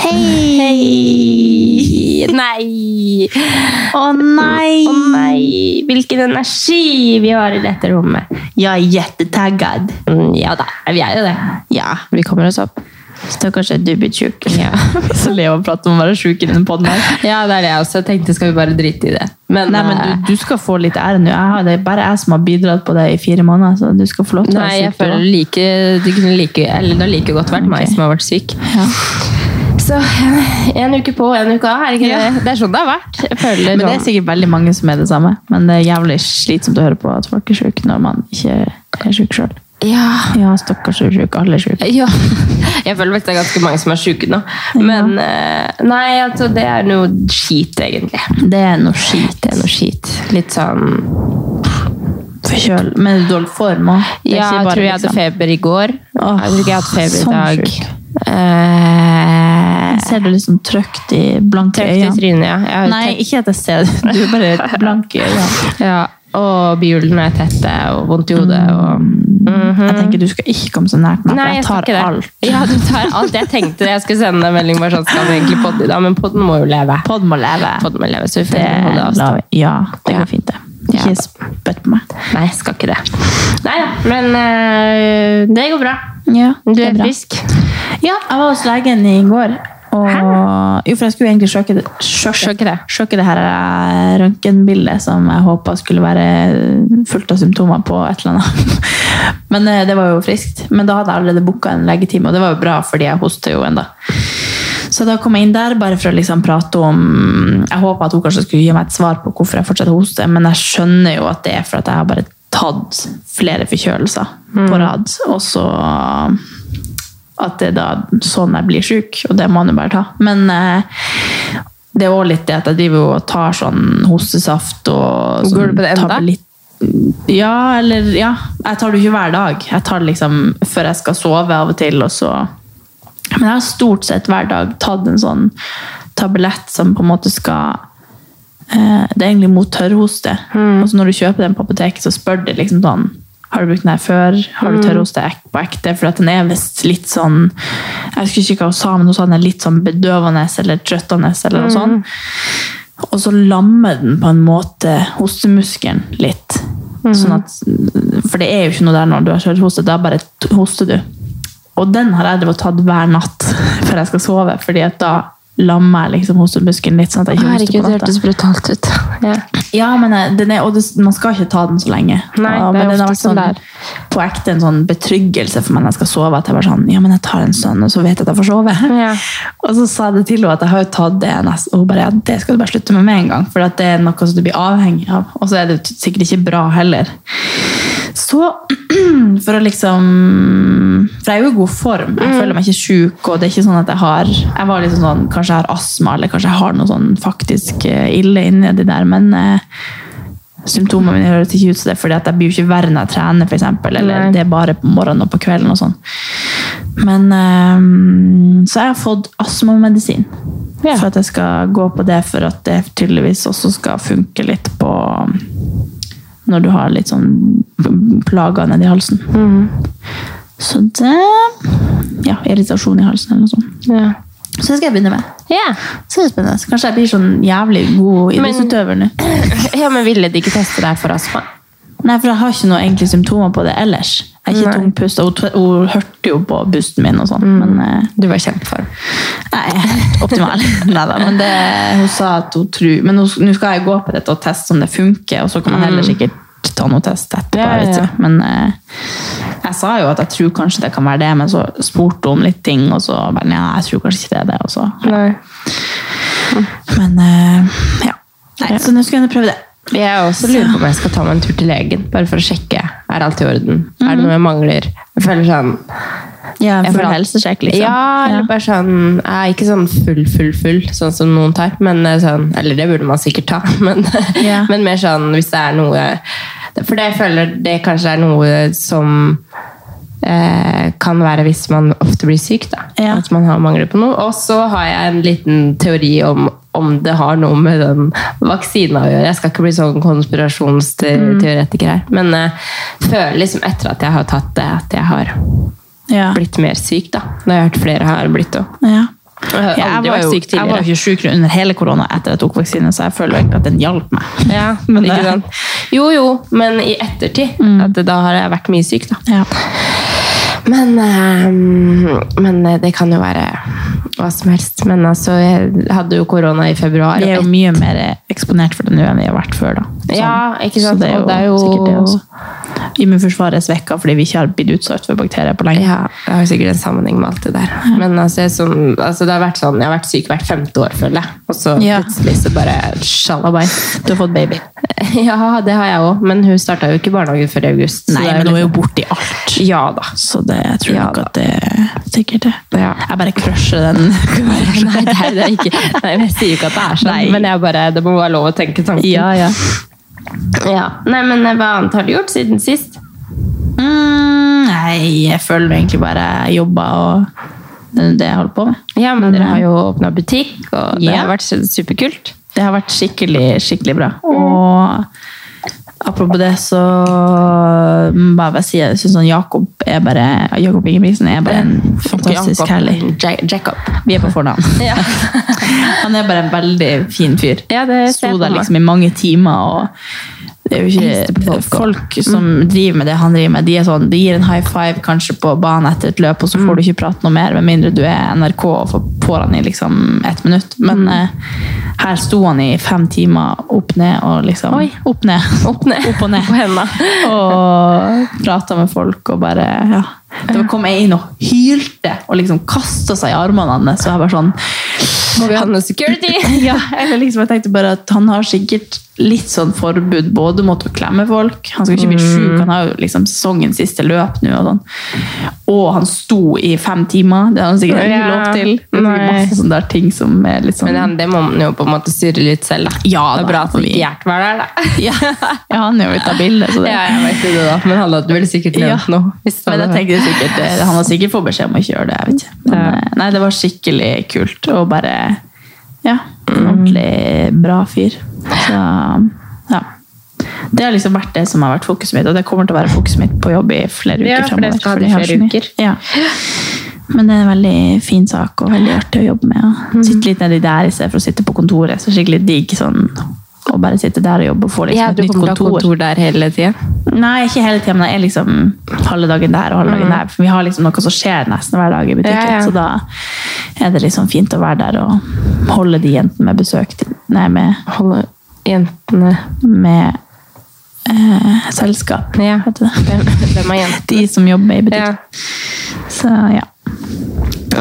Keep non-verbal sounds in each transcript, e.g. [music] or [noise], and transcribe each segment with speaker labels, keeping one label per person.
Speaker 1: Hei! Nei! Å nei! Hvilken energi vi har i dette rommet. Jeg er jättetaggad. Mm, ja da, vi er jo det. Ja, vi kommer oss opp. Stakkars du blir sjuk. Ja.
Speaker 2: Så Leo prater om å være sjuk i den podden her.
Speaker 1: det er det jeg også tenkte. Skal vi bare drite i det? Men, eh,
Speaker 2: Nei, men du, du skal få litt ære nå. Jeg har, det er bare jeg som har bidratt på det i fire måneder. Så du skal få lov til
Speaker 1: Nei,
Speaker 2: å
Speaker 1: jeg
Speaker 2: være sjuk.
Speaker 1: føler
Speaker 2: du også.
Speaker 1: like, det kunne like, eller det har like godt vært meg
Speaker 2: Ok.
Speaker 1: som har vært syk. Så en uke på, en uke av. Er det, ikke det? det er sånn det har vært. Jeg føler
Speaker 2: Men det er
Speaker 1: sånn-
Speaker 2: sikkert veldig mange som er det samme. Men det er jævlig slitsomt å høre på at folk er sjuke når man ikke er sjuk sjøl.
Speaker 1: ja.
Speaker 2: Ja, stakkars er sjuk. Alle er sjuke.
Speaker 1: ja. Jeg føler faktisk det er ganske mange som er syke nå. Men eh, nei, altså det er noe skit, egentlig.
Speaker 2: Det er noe skit.
Speaker 1: Det er noe skit. Litt sånn
Speaker 2: Forkjøl. Men du er i dårlig form òg.
Speaker 1: Ja, jeg tror jeg hadde feber i går.
Speaker 2: Åh,
Speaker 1: jeg tror ikke jeg hadde feber i
Speaker 2: sånn
Speaker 1: dag.
Speaker 2: sjuk.
Speaker 1: Eh,
Speaker 2: Ser du liksom trøkt i blanke
Speaker 1: Tøft i
Speaker 2: øyne?
Speaker 1: trynet, ja. Jeg har
Speaker 2: Nei, ikke at jeg ser det. Du er bare blank i øynene.
Speaker 1: Ja, og bihulene er tette og vondt i hodet. Og...
Speaker 2: Jeg tenker du skal ikke komme så nært meg, for jeg
Speaker 1: Mm. Mhm. skal
Speaker 2: tar
Speaker 1: ikke det.
Speaker 2: alt.
Speaker 1: Ja, du tar alt. Jeg tenkte det. jeg skulle sende deg en melding, bare sånn, skal vi egentlig podde i dag? Men podden må jo leve.
Speaker 2: Podden må leve.
Speaker 1: Podden må leve, så vi får
Speaker 2: Det
Speaker 1: holde avstand.
Speaker 2: lar vi- Ja, det
Speaker 1: Ja.
Speaker 2: går fint, det.
Speaker 1: Ja.
Speaker 2: Ikke spytt på meg.
Speaker 1: Nei, jeg skal ikke det. Nei da, men eh, det går bra.
Speaker 2: Ja,
Speaker 1: Du
Speaker 2: det
Speaker 1: er,
Speaker 2: bra.
Speaker 1: frisk.
Speaker 2: Ja, jeg var hos legen i går. Og, jo, for jeg skulle egentlig sjokke det,
Speaker 1: Sjokke
Speaker 2: sjokke,
Speaker 1: det.
Speaker 2: sjokke det her eh, røntgenbildet som jeg håpa skulle være fullt av symptomer på et eller annet. [laughs] Men eh, det var jo friskt. Men da hadde jeg allerede booka en legetime, og det var jo bra, fordi jeg hoster jo ennå. Så da kom jeg inn der bare for å liksom prate om Jeg håper at hun kanskje skulle gi meg et svar på hvorfor jeg fortsetter å hoste, men jeg skjønner jo at det er for at jeg har bare tatt flere forkjølelser på rad. Og så at det er da sånn jeg blir syk, og det må man jo bare ta. Men eh, det er også litt det at jeg driver jo og tar sånn hostesaft og sånn
Speaker 1: Går du på det enda?
Speaker 2: tablett- Ja, eller ja. Jeg tar det jo ikke hver dag. Jeg tar det liksom før jeg skal sove av og til, og så men jeg har stort sett hver dag tatt en sånn tablett som på en måte skal eh, Det er egentlig mot tørrhoste.
Speaker 1: Mm.
Speaker 2: Og så når du kjøper den på apoteket, så spør de liksom sånn Har du brukt den her før? Har du
Speaker 1: Mm.
Speaker 2: tørrhoste ek- på ekte? For at den er visst litt sånn Jeg husker ikke hva hun sa, men hun sa den er litt sånn bedøvende eller trøttende eller
Speaker 1: Mm.
Speaker 2: noe sånt. Og så lammer den på en måte hostemuskelen litt.
Speaker 1: Mm.
Speaker 2: Sånn at, for det er jo ikke noe der når du har kjørt da bare t- hoster du. Og den har jeg drevet og tatt hver natt [laughs] før jeg skal sove, fordi at da lammer jeg liksom hostemuskelen litt. sånn at jeg ikke hoster på
Speaker 1: Herregud, det
Speaker 2: natta.
Speaker 1: hørtes brutalt ut. Ja.
Speaker 2: Ja, men eh, den er, og det, man skal ikke ta den så lenge.
Speaker 1: Nei,
Speaker 2: og,
Speaker 1: det
Speaker 2: men
Speaker 1: er
Speaker 2: den har vært
Speaker 1: ofte sånn
Speaker 2: sånn,
Speaker 1: det er.
Speaker 2: på ekte en sånn betryggelse for meg når jeg skal sove. At jeg bare sånn, ja, men jeg tar en stund, og så vet jeg at jeg får sove.
Speaker 1: Ja.
Speaker 2: [laughs] Og så sa jeg det til henne at jeg har jo tatt det, nest- og hun bare, ja, det skal du bare slutte med med en gang, for at det er noe som du blir avhengig av. Og så er det jo sikkert ikke bra heller. Så, for å liksom For jeg er jo i god form.
Speaker 1: Mm.
Speaker 2: Jeg føler meg ikke sjuk, og det er ikke sånn at jeg har Jeg var liksom sånn, Kanskje jeg har astma, eller kanskje jeg har noe sånn faktisk eh, ille inni det der, men eh, symptomene mine høres ikke ut som det, fordi at jeg blir jo ikke verre når jeg trener, for eksempel, eller
Speaker 1: Nei.
Speaker 2: det er bare på morgenen og på kvelden og sånn. Men ehm, Så jeg har fått astmamedisin.
Speaker 1: Ja.
Speaker 2: For at jeg skal gå på det, for at det tydeligvis også skal funke litt på Når du har litt sånn plager nedi halsen. Mm. Så det Ja, irritasjon i halsen eller noe sånt.
Speaker 1: Ja.
Speaker 2: Så det skal jeg begynne med.
Speaker 1: [laughs] Ja.
Speaker 2: Så det er spennende. Så Kanskje jeg blir sånn jævlig god idrettsutøver nå.
Speaker 1: ja, men ville de ikke teste deg for astma?
Speaker 2: Nei, for jeg har ikke noe egentlig symptomer på det ellers. Jeg er ikke tungpust, og hun, tve- hun hørte jo på pusten min og sånn, men eh,
Speaker 1: Du var i kjempeform.
Speaker 2: Nei, [laughs] helt optimal. Neida, men det, hun sa at hun tror Men nå nå skal jeg gå på dette og teste om det funker, og så kan man heller sikkert ta noe test etterpå.
Speaker 1: Ja, ja,
Speaker 2: vet du.
Speaker 1: ja.
Speaker 2: Men eh, jeg sa jo at jeg tror kanskje det kan være det, men så spurte hun om litt ting, og så bare ja, jeg tror kanskje ikke det er det. Og så,
Speaker 1: Nei.
Speaker 2: Men eh, ja. Nei, så nå skal jeg prøve det.
Speaker 1: Jeg også lurer på om jeg skal ta meg en tur til legen, bare for å sjekke. Er alt i orden? Er det noe jeg mangler? Jeg føler sånn
Speaker 2: Ja,
Speaker 1: jeg
Speaker 2: full
Speaker 1: føler at-
Speaker 2: helsesjekk, liksom.
Speaker 1: Ja, eller bare sånn eh, Ikke sånn full, full, full, sånn som noen tar. Men eh, sånn, eller det burde man sikkert ta, [laughs] men,
Speaker 2: Ja.
Speaker 1: men mer sånn hvis det er noe For det jeg føler det kanskje er noe som eh, kan være hvis man ofte blir syk, da.
Speaker 2: Ja.
Speaker 1: At man har mangler på noe. Og så har jeg en liten teori om om det har noe med den vaksina å gjøre. Jeg skal ikke bli sånn konspirasjonsteoretiker her. Men eh, føler liksom etter at jeg har tatt det, at jeg har
Speaker 2: Ja.
Speaker 1: blitt mer syk, da. Det har jeg hørt flere har blitt òg.
Speaker 2: Ja.
Speaker 1: Jeg
Speaker 2: Ja,
Speaker 1: har aldri
Speaker 2: jeg var
Speaker 1: vært
Speaker 2: jo jeg
Speaker 1: syk
Speaker 2: var jo
Speaker 1: tidligere.
Speaker 2: ikke syk under hele korona etter jeg tok vaksine, så jeg føler jo egentlig at den hjalp meg.
Speaker 1: Ja,
Speaker 2: [laughs] Men eh,
Speaker 1: ikke
Speaker 2: det-
Speaker 1: sant? Jo, jo, men i ettertid. At da har jeg vært mye syk, da.
Speaker 2: Ja.
Speaker 1: Men, eh, men eh, det kan jo være hva som helst. Men altså, jeg hadde jo korona i februar.
Speaker 2: Vi er
Speaker 1: og
Speaker 2: jo mye mer eksponert for det nå enn vi har vært før. da. Sånn.
Speaker 1: Ja, ikke sant?
Speaker 2: Så det er jo,
Speaker 1: Og det er jo-
Speaker 2: sikkert det også. Immunforsvaret er svekka fordi vi ikke har blitt utsatt for bakterier på lenge.
Speaker 1: Ja, det har jo sikkert en sammenheng med alt det der. Men altså, jeg, som, altså, det har vært sånn, jeg har vært syk hvert femte år, føler jeg. Og så
Speaker 2: Ja.
Speaker 1: plutselig så bare shalabai.
Speaker 2: Du har fått baby.
Speaker 1: [laughs] Ja, det har jeg òg, men hun starta jo ikke bortdagen før i august. så
Speaker 2: Nei,
Speaker 1: det
Speaker 2: men
Speaker 1: litt-
Speaker 2: hun er jo borti alt.
Speaker 1: Ja da.
Speaker 2: Så det, jeg tror
Speaker 1: Ja
Speaker 2: nok at det er sikkert det.
Speaker 1: Ja.
Speaker 2: Jeg bare crusher den. [laughs]
Speaker 1: [laughs] Nei, det er, det er ikke, nei, men jeg sier jo ikke at det er sånn,
Speaker 2: Nei.
Speaker 1: men jeg bare, det må være lov å tenke tanken.
Speaker 2: ja, ja.
Speaker 1: Ja. Nei, men eh, hva annet har du gjort siden sist?
Speaker 2: Mm, nei, jeg føler egentlig bare jeg jobber og det er det jeg holder på med.
Speaker 1: Ja, men Dere har jo åpna butikk, og det
Speaker 2: Ja.
Speaker 1: har vært superkult.
Speaker 2: Det har vært skikkelig, skikkelig bra. Og apropos det, så må jeg bare si jeg synes sånn Jakob er bare Jakob Ingebrigtsen er bare en fantastisk herlig
Speaker 1: Ja- Jacob.
Speaker 2: Vi er på fornavn.
Speaker 1: [laughs] Ja.
Speaker 2: Han er bare en veldig fin fyr.
Speaker 1: Ja, det ser jeg
Speaker 2: Sto
Speaker 1: på
Speaker 2: der
Speaker 1: meg.
Speaker 2: liksom i mange timer og det er jo
Speaker 1: Jeg hilste på
Speaker 2: ikke
Speaker 1: folk Mm. også.
Speaker 2: folk som driver med det han driver med. De, er sånn, de gir en high five kanskje på banen etter et løp, og så
Speaker 1: Mm.
Speaker 2: får du ikke prate noe mer, med mindre du er NRK og får på'n i liksom ett minutt.
Speaker 1: Mm.
Speaker 2: Men eh, her sto han i fem timer opp ned og liksom
Speaker 1: Oi.
Speaker 2: Opp
Speaker 1: [laughs]
Speaker 2: ned.
Speaker 1: Opp ned.
Speaker 2: Opp og ned.
Speaker 1: På
Speaker 2: [laughs]
Speaker 1: hendene.
Speaker 2: Og prata med folk og bare ja. Det var- kom jeg inn og hylte og liksom kasta seg i armene hans. Og jeg bare sånn
Speaker 1: Må vi ha noe security?
Speaker 2: [laughs] ja, eller liksom jeg tenkte bare at han har sikkert litt sånn forbud både mot å klemme folk, han skal ikke
Speaker 1: Mm.
Speaker 2: bli syk, han har jo liksom sesongens siste løp nå og sånn. Og han sto i fem timer, det har han sikkert ikke
Speaker 1: Ja,
Speaker 2: lov til. Det er sikkert
Speaker 1: nei.
Speaker 2: masse sånne der ting som er litt sånn...
Speaker 1: [laughs] Men han, det må man jo på en måte styre litt selv, da.
Speaker 2: Ja,
Speaker 1: det
Speaker 2: da,
Speaker 1: er bra at
Speaker 2: for vi-
Speaker 1: ikke Gjert var der, da.
Speaker 2: ja, ja, han er jo ute av bildet, så det...
Speaker 1: [laughs] Ja, jeg vet jo det, da. Men han hadde vel sikkert
Speaker 2: Ja.
Speaker 1: nevnt noe. hvis
Speaker 2: Men
Speaker 1: han
Speaker 2: jeg
Speaker 1: hadde hørt.
Speaker 2: tenkte sikkert, eh, han har sikkert fått beskjed om å ikke gjøre det. Jeg vet ikke. Men,
Speaker 1: Ja.
Speaker 2: eh, Nei, det var skikkelig kult og bare ja,
Speaker 1: Mm.
Speaker 2: en ordentlig bra fyr. Så, ja. Det har liksom vært det som har vært fokuset mitt, og det kommer til å være fokuset mitt på jobb i flere uker
Speaker 1: Ja, for
Speaker 2: fremover,
Speaker 1: det skal ha
Speaker 2: fordi
Speaker 1: det i
Speaker 2: jeg har
Speaker 1: flere
Speaker 2: så mye.
Speaker 1: uker.
Speaker 2: Ja. Men det er en veldig fin sak og veldig artig å jobbe med.
Speaker 1: Mm.
Speaker 2: og Sitte litt nedi der i stedet for å sitte på kontoret. så skikkelig digg sånn, å bare sitte der og jobbe og få liksom,
Speaker 1: ja,
Speaker 2: et
Speaker 1: du
Speaker 2: nytt
Speaker 1: kommer til å ha
Speaker 2: kontor.
Speaker 1: kontor der hele tida?
Speaker 2: Nei, ikke hele tiden, men det er liksom halve dagen der og halve dagen der. For vi har liksom noe som skjer nesten hver dag i butikken,
Speaker 1: Mm. Ja, ja.
Speaker 2: så da er det liksom fint å være der og holde de jentene med besøk til, nei, med,
Speaker 1: Holde jentene
Speaker 2: med eh, selskap.
Speaker 1: Ja.
Speaker 2: Vet du det?
Speaker 1: Hvem hvem er jentene?
Speaker 2: De som jobber i
Speaker 1: Ja.
Speaker 2: butikk. Så ja.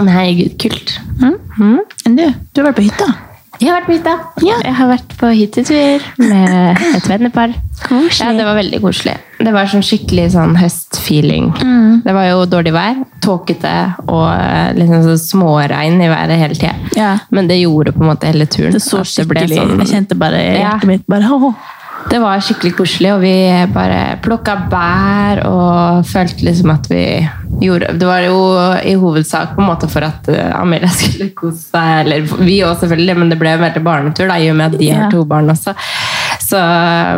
Speaker 1: Nei, gud, kult.
Speaker 2: Men du, du har vært på hytta.
Speaker 1: Jeg har vært på hytta. Jeg har vært på hyttetur med et vennepar. Ja, det var veldig koselig. Det var sånn skikkelig sånn høstfeeling.
Speaker 2: Mm.
Speaker 1: Det var jo dårlig vær, tåkete og eh, liksom sånn småregn i været hele tida.
Speaker 2: Ja.
Speaker 1: Men det gjorde på en måte hele
Speaker 2: [laughs]
Speaker 1: turen.
Speaker 2: Det så
Speaker 1: at ble
Speaker 2: skikkelig
Speaker 1: sånn-
Speaker 2: Jeg kjente bare i
Speaker 1: Ja.
Speaker 2: hjertet mitt bare åh.
Speaker 1: Det var skikkelig koselig, og vi bare plukka bær og følte liksom at vi gjorde Det var jo i hovedsak på en måte for at eh, Amelia [laughs] skulle kose seg, eller vi òg selvfølgelig, men det ble en veldig barnetur da, i og med at de
Speaker 2: Ja.
Speaker 1: har to barn også. Så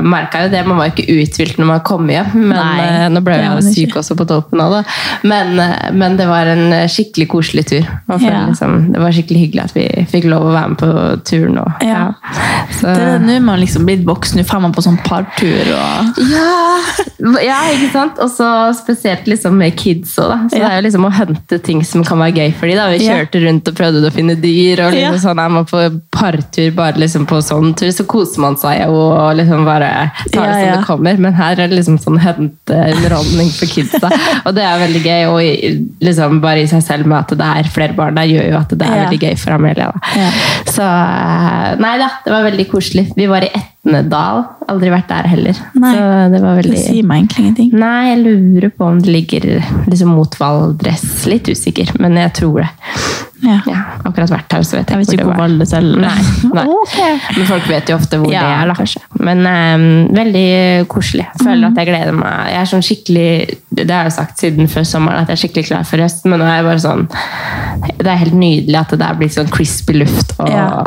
Speaker 1: merka jo det. Man var jo ikke uthvilt når man kom hjem. Men
Speaker 3: Nei,
Speaker 1: eh, nå ble
Speaker 3: det
Speaker 1: jeg
Speaker 3: var
Speaker 1: jo
Speaker 3: man
Speaker 1: syk også på toppen av det. Men, eh, men det var en eh, skikkelig koselig tur. Man føler
Speaker 2: Ja.
Speaker 1: liksom, det var skikkelig hyggelig at vi fikk lov å være med på turen òg.
Speaker 2: Ja.
Speaker 1: Så-
Speaker 2: Det er nå man liksom blitt voksen, nå får man på sånn partur og
Speaker 1: Ja, ja ikke sant? Og så spesielt liksom med kids òg, da. Så det er jo liksom å hente ting som kan være gøy for dem. da. Vi
Speaker 2: Ja.
Speaker 1: kjørte rundt og prøvde å finne dyr, og liksom
Speaker 2: Ja.
Speaker 1: sånn er man på partur, bare liksom på sånn tur, så koser man seg jo og liksom bare tar det
Speaker 2: Ja,
Speaker 1: som
Speaker 2: ja.
Speaker 1: det kommer. Men her er det liksom sånn hente underholdning for kidsa, og det er veldig gøy. Og i- liksom bare i seg selv med at det er flere barn der, gjør jo at det er
Speaker 2: Ja.
Speaker 1: veldig gøy for Amelia. da.
Speaker 2: Ja.
Speaker 1: Så eh, Nei da, det var veldig koselig. Vi var i Etnedal. Aldri vært der heller.
Speaker 2: Nei.
Speaker 1: Så det var
Speaker 2: Det
Speaker 1: veldig
Speaker 2: sier meg egentlig ingenting.
Speaker 1: Nei, jeg lurer på om det ligger liksom mot Valdres. Litt usikker, men jeg tror det.
Speaker 2: Ja.
Speaker 1: Ja, akkurat vært her, så vet
Speaker 2: Jeg
Speaker 1: jeg,
Speaker 2: vet ikke hvor
Speaker 1: det var.
Speaker 2: Valdres eller
Speaker 1: Nei,
Speaker 2: [laughs]
Speaker 1: nei.
Speaker 2: Ok.
Speaker 1: Men folk vet jo ofte hvor
Speaker 2: Ja,
Speaker 1: det er, da. Men eh, veldig koselig. Jeg Føler
Speaker 2: Mhm.
Speaker 1: at jeg gleder meg. Jeg er sånn skikkelig Det har jeg jo sagt siden før sommeren, at jeg er skikkelig klar for høsten, men nå er jeg bare sånn Det er helt nydelig at det der blir sånn crispy luft og
Speaker 2: Ja.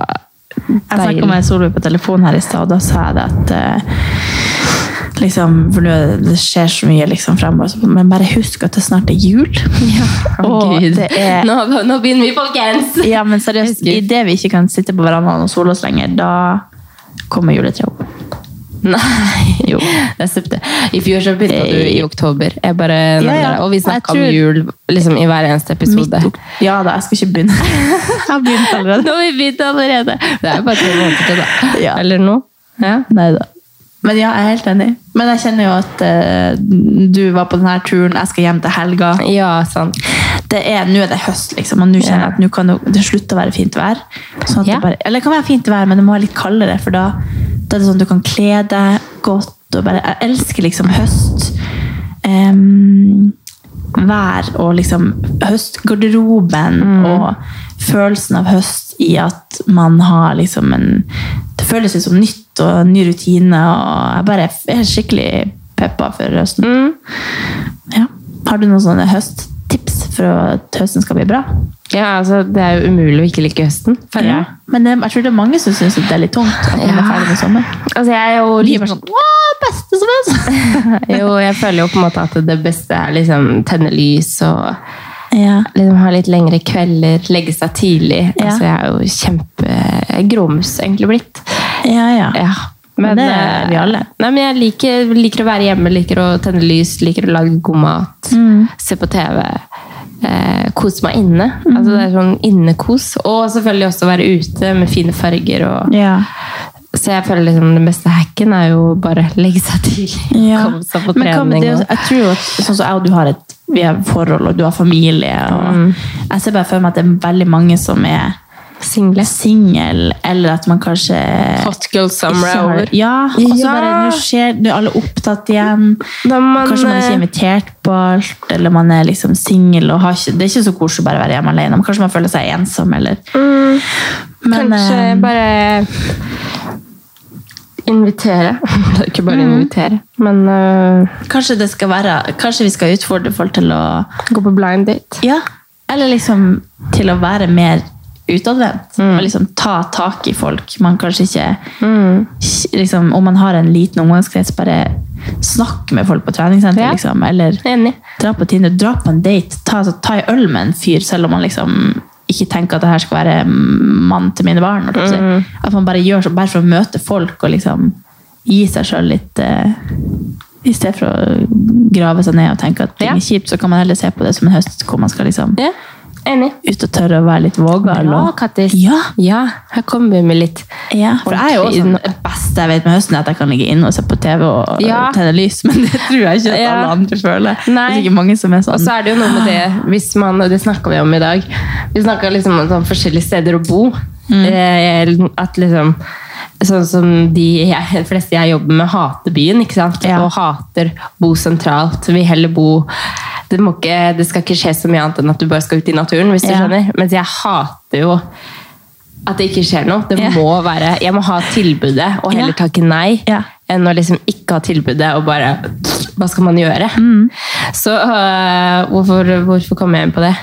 Speaker 2: Jeg snakket med Solveig på telefon her i stad, og da sa jeg det at eh, liksom, for nå- Det skjer så mye liksom, fremover, så- men bare husk at det snart er [laughs] jul.
Speaker 1: Å,
Speaker 2: og
Speaker 1: Gud.
Speaker 2: det er
Speaker 1: [laughs] nå, nå begynner vi, folkens!
Speaker 2: Ja, men seriøst,
Speaker 1: Jeg husker.
Speaker 2: idet vi ikke kan sitte på verandaen og sole oss lenger, da kommer juletreet opp.
Speaker 1: Nei.
Speaker 2: Jo.
Speaker 1: Det er septe- I fjor så begynte du i oktober. Jeg bare nevner
Speaker 2: Ja, ja.
Speaker 1: det. Og vi snakka om
Speaker 2: Jeg tror-
Speaker 1: jul liksom, i hver eneste episode.
Speaker 2: Midt ok- Ja da, jeg skal ikke begynne. [laughs] Jeg har begynt allerede.
Speaker 1: [laughs] Nå har vi begynt allerede! Det er jo bare tre måneder til, da.
Speaker 2: Ja.
Speaker 1: Eller nå. Ja.
Speaker 2: Neida. Men ja, jeg er helt enig. Men jeg kjenner jo at eh, du var på denne turen, jeg skal hjem til helga.
Speaker 1: ja, sant.
Speaker 2: det er, nå er det høst, liksom, og nå kjenner jeg
Speaker 1: Ja.
Speaker 2: at nå kan det- det slutte å være fint vær. Sånn at
Speaker 1: Ja.
Speaker 2: det bare, eller det kan være fint vær, men det må være litt kaldere, for da, da er det sånn at du kan kle deg godt, og bare, jeg elsker liksom høst. Em, vær og liksom høstgarderoben, og følelsen av høst i at man har liksom en, det føles ut som nytt, og ny rutine, og jeg bare er skikkelig peppa for høsten. Ja. Har du noen sånne høsttips for at høsten skal bli bra?
Speaker 1: Ja, altså, det er jo umulig å ikke like høsten. føler jeg.
Speaker 2: Men det, jeg tror det er mange som syns det er litt tungt at man
Speaker 1: Ja.
Speaker 2: er ferdig med sommer.
Speaker 1: Altså, jeg er jo
Speaker 2: Og de er bare sånn Åh, beste som helst! [laughs]
Speaker 1: [laughs] Jo, jeg føler jo på en måte at det beste er liksom tenne lys og
Speaker 2: ja.
Speaker 1: liksom ha litt lengre kvelder, legge seg tidlig.
Speaker 2: Ja.
Speaker 1: Altså, jeg er jo kjempe jeg er gråmus egentlig blitt.
Speaker 2: ja, ja.
Speaker 1: Ja,
Speaker 2: Men det er
Speaker 1: eh,
Speaker 2: vi alle.
Speaker 1: Nei, men jeg liker, liker å være hjemme, liker å tenne lys, liker å lage god mat,
Speaker 2: Mm.
Speaker 1: se på TV. Eh, kose meg inne. Altså, det er sånn innekos. Og selvfølgelig også være ute med fine farger. Og...
Speaker 2: Ja.
Speaker 1: Så jeg føler liksom den beste hacken er jo bare legge seg tidlig.
Speaker 2: Ja.
Speaker 1: Komme seg på
Speaker 2: Men hva med
Speaker 1: trening.
Speaker 2: det,
Speaker 1: og...
Speaker 2: jeg tror jo at sånn som jeg og du har et vi har forhold, og du har familie og
Speaker 1: Mm.
Speaker 2: Jeg ser bare for meg at det er veldig mange som er
Speaker 1: Single.
Speaker 2: single, eller at man kanskje
Speaker 1: Hot girl
Speaker 2: ikke
Speaker 1: summer er
Speaker 2: har-
Speaker 1: over.
Speaker 2: Ja, og så
Speaker 1: Ja.
Speaker 2: bare Nå skjer nå er alle opptatt igjen.
Speaker 1: Da man,
Speaker 2: Kanskje man ikke er
Speaker 1: eh,
Speaker 2: invitert på alt, eller man er liksom singel. og har ikke- Det er ikke så koselig å bare være hjemme alene. Men kanskje man føler seg ensom, eller Men,
Speaker 1: Mm. Kanskje
Speaker 2: eh,
Speaker 1: bare invitere. [laughs] Det er ikke bare
Speaker 2: Mm.
Speaker 1: invitere, men eh,
Speaker 2: kanskje, det skal være, kanskje vi skal utfordre folk til å
Speaker 1: gå på blind date.
Speaker 2: Ja. Eller liksom til å være mer utadvendt.
Speaker 1: Mm.
Speaker 2: Og liksom ta tak i folk. Man kanskje ikke
Speaker 1: Mm.
Speaker 2: liksom, Om man har en liten omgangskrets, bare snakk med folk på treningssenter,
Speaker 1: Ja.
Speaker 2: liksom. Eller
Speaker 1: Enig.
Speaker 2: dra på Tinder, dra på en date, ta, altså, ta en øl med en fyr, selv om man liksom ikke tenker at det her skal være mann til mine barn. holdt jeg på å si.
Speaker 1: Mm.
Speaker 2: At man bare gjør så, bare for å møte folk og liksom gi seg sjøl litt eh, I stedet for å grave seg ned og tenke at ting
Speaker 1: Ja.
Speaker 2: er kjipt, så kan man heller se på det som en høst hvor man skal liksom
Speaker 1: Ja, enig.
Speaker 2: ut og tørre å være litt vågal.
Speaker 1: Bra,
Speaker 2: og-
Speaker 1: Kattis.
Speaker 2: Ja,
Speaker 1: Ja, her kommer vi med litt.
Speaker 2: ja, for jeg er jo også sånn, det beste jeg vet med høsten, er at jeg kan ligge inne og se på TV og
Speaker 1: Ja.
Speaker 2: tenne lys, [laughs] men det tror jeg ikke at
Speaker 1: Ja.
Speaker 2: alle andre føler.
Speaker 1: Nei.
Speaker 2: Det er sikkert mange som er
Speaker 1: Og
Speaker 2: sånn.
Speaker 1: så er det jo noe med det, hvis man, og det snakka vi om i dag Vi snakka liksom om sånn forskjellige steder å bo.
Speaker 2: Mm.
Speaker 1: Eh, At liksom Sånn som de, jeg, de fleste jeg jobber med, hater byen ikke sant?
Speaker 2: Ja.
Speaker 1: og hater bo sentralt. Vil heller bo det, må ikke, det skal ikke skje så mye annet enn at du bare skal ut i naturen. hvis du
Speaker 2: Ja.
Speaker 1: skjønner. Mens jeg hater jo at det ikke skjer noe. Det
Speaker 2: Ja.
Speaker 1: må være, Jeg må ha tilbudet, og heller
Speaker 2: Ja.
Speaker 1: takke nei
Speaker 2: Ja.
Speaker 1: enn å liksom ikke ha tilbudet og bare Hva skal man gjøre?
Speaker 2: Mm.
Speaker 1: Så øh, hvorfor, hvorfor kom jeg inn på det?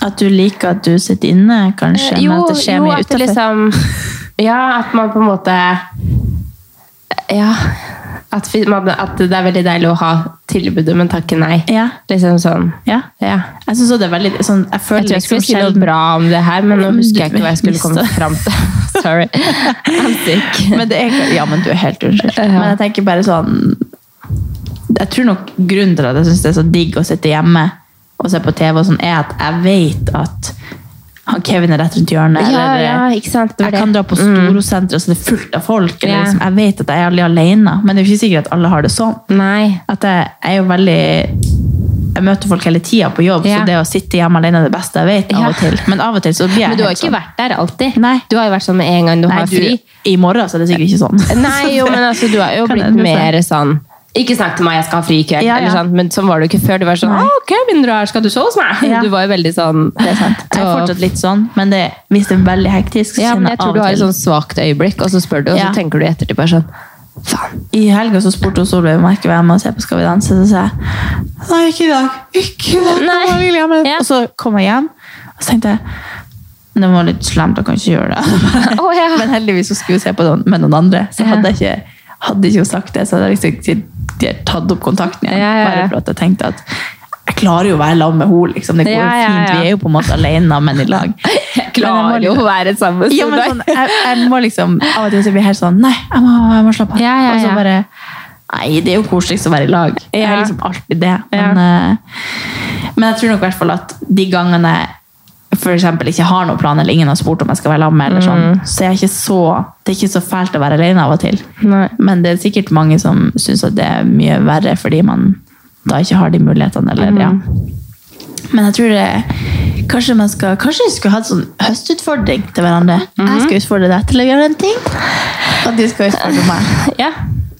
Speaker 2: At du liker at du sitter inne, kanskje,
Speaker 1: Eh, jo,
Speaker 2: men at det skjer
Speaker 1: jo,
Speaker 2: mye
Speaker 1: at det
Speaker 2: utenfor.
Speaker 1: liksom Ja, at man på en måte eh, Ja. At, vi- man, at det er veldig deilig å ha tilbudet, men takke nei.
Speaker 2: Ja.
Speaker 1: Liksom sånn.
Speaker 2: Ja.
Speaker 1: Ja.
Speaker 2: Jeg synes også det er veldig sånn, jeg,
Speaker 1: Jeg
Speaker 2: føler
Speaker 1: tror jeg skulle si noe
Speaker 2: sjelden- Mm.
Speaker 1: bra om det her, men nå husker jeg ikke hva jeg skulle komme
Speaker 2: Mista.
Speaker 1: fram
Speaker 2: [laughs]
Speaker 1: til. Sorry. I'm sick.
Speaker 2: men det er, ja, men du er helt unnskyldt.
Speaker 1: Ja.
Speaker 2: Men jeg tenker bare sånn Jeg tror nok grunnen til at jeg syns det er så digg å sitte hjemme og se på TV, og sånn, er at jeg vet at han Kevin er rett rundt hjørnet.
Speaker 1: Ja,
Speaker 2: eller,
Speaker 1: ja, ikke sant? Det var
Speaker 2: Jeg kan
Speaker 1: det.
Speaker 2: dra på Storosenteret, så det er fullt av folk. Eller,
Speaker 1: Ja.
Speaker 2: liksom, jeg vet at jeg er aldri alene, men det er jo ikke sikkert at alle har det sånn.
Speaker 1: Nei.
Speaker 2: At jeg, jeg er jo veldig jeg møter folk hele tida på jobb,
Speaker 1: Ja.
Speaker 2: så det å sitte hjemme alene er det beste jeg vet. av
Speaker 1: Ja.
Speaker 2: og til. Men av og til så blir jeg
Speaker 1: Men du har
Speaker 2: helt
Speaker 1: ikke
Speaker 2: sånn.
Speaker 1: vært der alltid.
Speaker 2: Nei.
Speaker 1: Du har jo vært sånn med en gang du
Speaker 2: Nei,
Speaker 1: har fri.
Speaker 2: du, I morgen så er det sikkert ikke sånn.
Speaker 1: [laughs] Nei, jo, men altså, du har [laughs] jo
Speaker 2: Kan
Speaker 1: blitt
Speaker 2: endre seg.
Speaker 1: mer sånn ikke snakk til meg, jeg skal ha fri i kveld.
Speaker 2: Ja, ja.
Speaker 1: Eller sånn, men sånn var du ikke før. Du var sånn
Speaker 2: Nei.
Speaker 1: Å, ok, begynner du her, skal du sove hos meg? [laughs]
Speaker 2: Ja.
Speaker 1: Du var jo veldig sånn
Speaker 2: Det er sant. Jeg er
Speaker 1: Og-
Speaker 2: fortsatt litt sånn, men det, hvis det er veldig hektisk, så
Speaker 1: Ja,
Speaker 2: kjenner
Speaker 1: men jeg
Speaker 2: jeg
Speaker 1: tror
Speaker 2: av
Speaker 1: du har
Speaker 2: og
Speaker 1: et
Speaker 2: til
Speaker 1: sånn svakt øyeblikk, og så spør du, og så
Speaker 2: Ja.
Speaker 1: tenker du i ettertid bare sånn Faen.
Speaker 2: I helga så spurte hun Solveig om jeg ikke var hjemme og se på Skal vi danse, så sa jeg Nei, ikke i dag. Ikke i dag.
Speaker 1: Nei.
Speaker 2: Jeg vil hjem.
Speaker 1: Ja.
Speaker 2: Og så kom jeg hjem, og så tenkte jeg det var litt slemt, jeg kan ikke gjøre det.
Speaker 1: [laughs] Å, ja.
Speaker 2: Men heldigvis så skulle vi se på noen, med noen andre. Så hadde jeg ikke, hadde ikke hun sagt det, så hadde jeg liksom ikke de hadde tatt opp kontakten igjen.
Speaker 1: Ja, ja, ja.
Speaker 2: Bare for at jeg tenkte at jeg klarer jo å være sammen med henne. Liksom. Det går jo
Speaker 1: Ja, ja,
Speaker 2: fint.
Speaker 1: ja.
Speaker 2: Vi er jo på en måte alene, men i lag.
Speaker 1: [laughs] Jeg klarer jo å være sammen
Speaker 2: Ja, men sånn, jeg, jeg må liksom av og til så blir jeg helt sånn Nei, jeg må, jeg må slappe av.
Speaker 1: Ja, ja,
Speaker 2: Og
Speaker 1: ja.
Speaker 2: så bare Nei, det er jo koseligst å være i lag. Jeg er
Speaker 1: Ja.
Speaker 2: liksom alltid det. Men, eh, men jeg tror nok i hvert fall at de gangene jeg for eksempel ikke har noen plan, eller ingen har spurt om jeg skal være sammen med, eller
Speaker 1: Mm.
Speaker 2: sånn, så er jeg ikke så, det er ikke så fælt å være alene av og til.
Speaker 1: Nei.
Speaker 2: Men det er sikkert mange som syns at det er mye verre fordi man da ikke har de mulighetene, eller
Speaker 1: Mm.
Speaker 2: ja. Men jeg tror det Kanskje man skal Kanskje vi skulle hatt sånn høstutfordring til hverandre.
Speaker 1: Mhm.
Speaker 2: Jeg skal utfordre deg til å gjøre en ting, og du skal utfordre meg.
Speaker 1: Ja.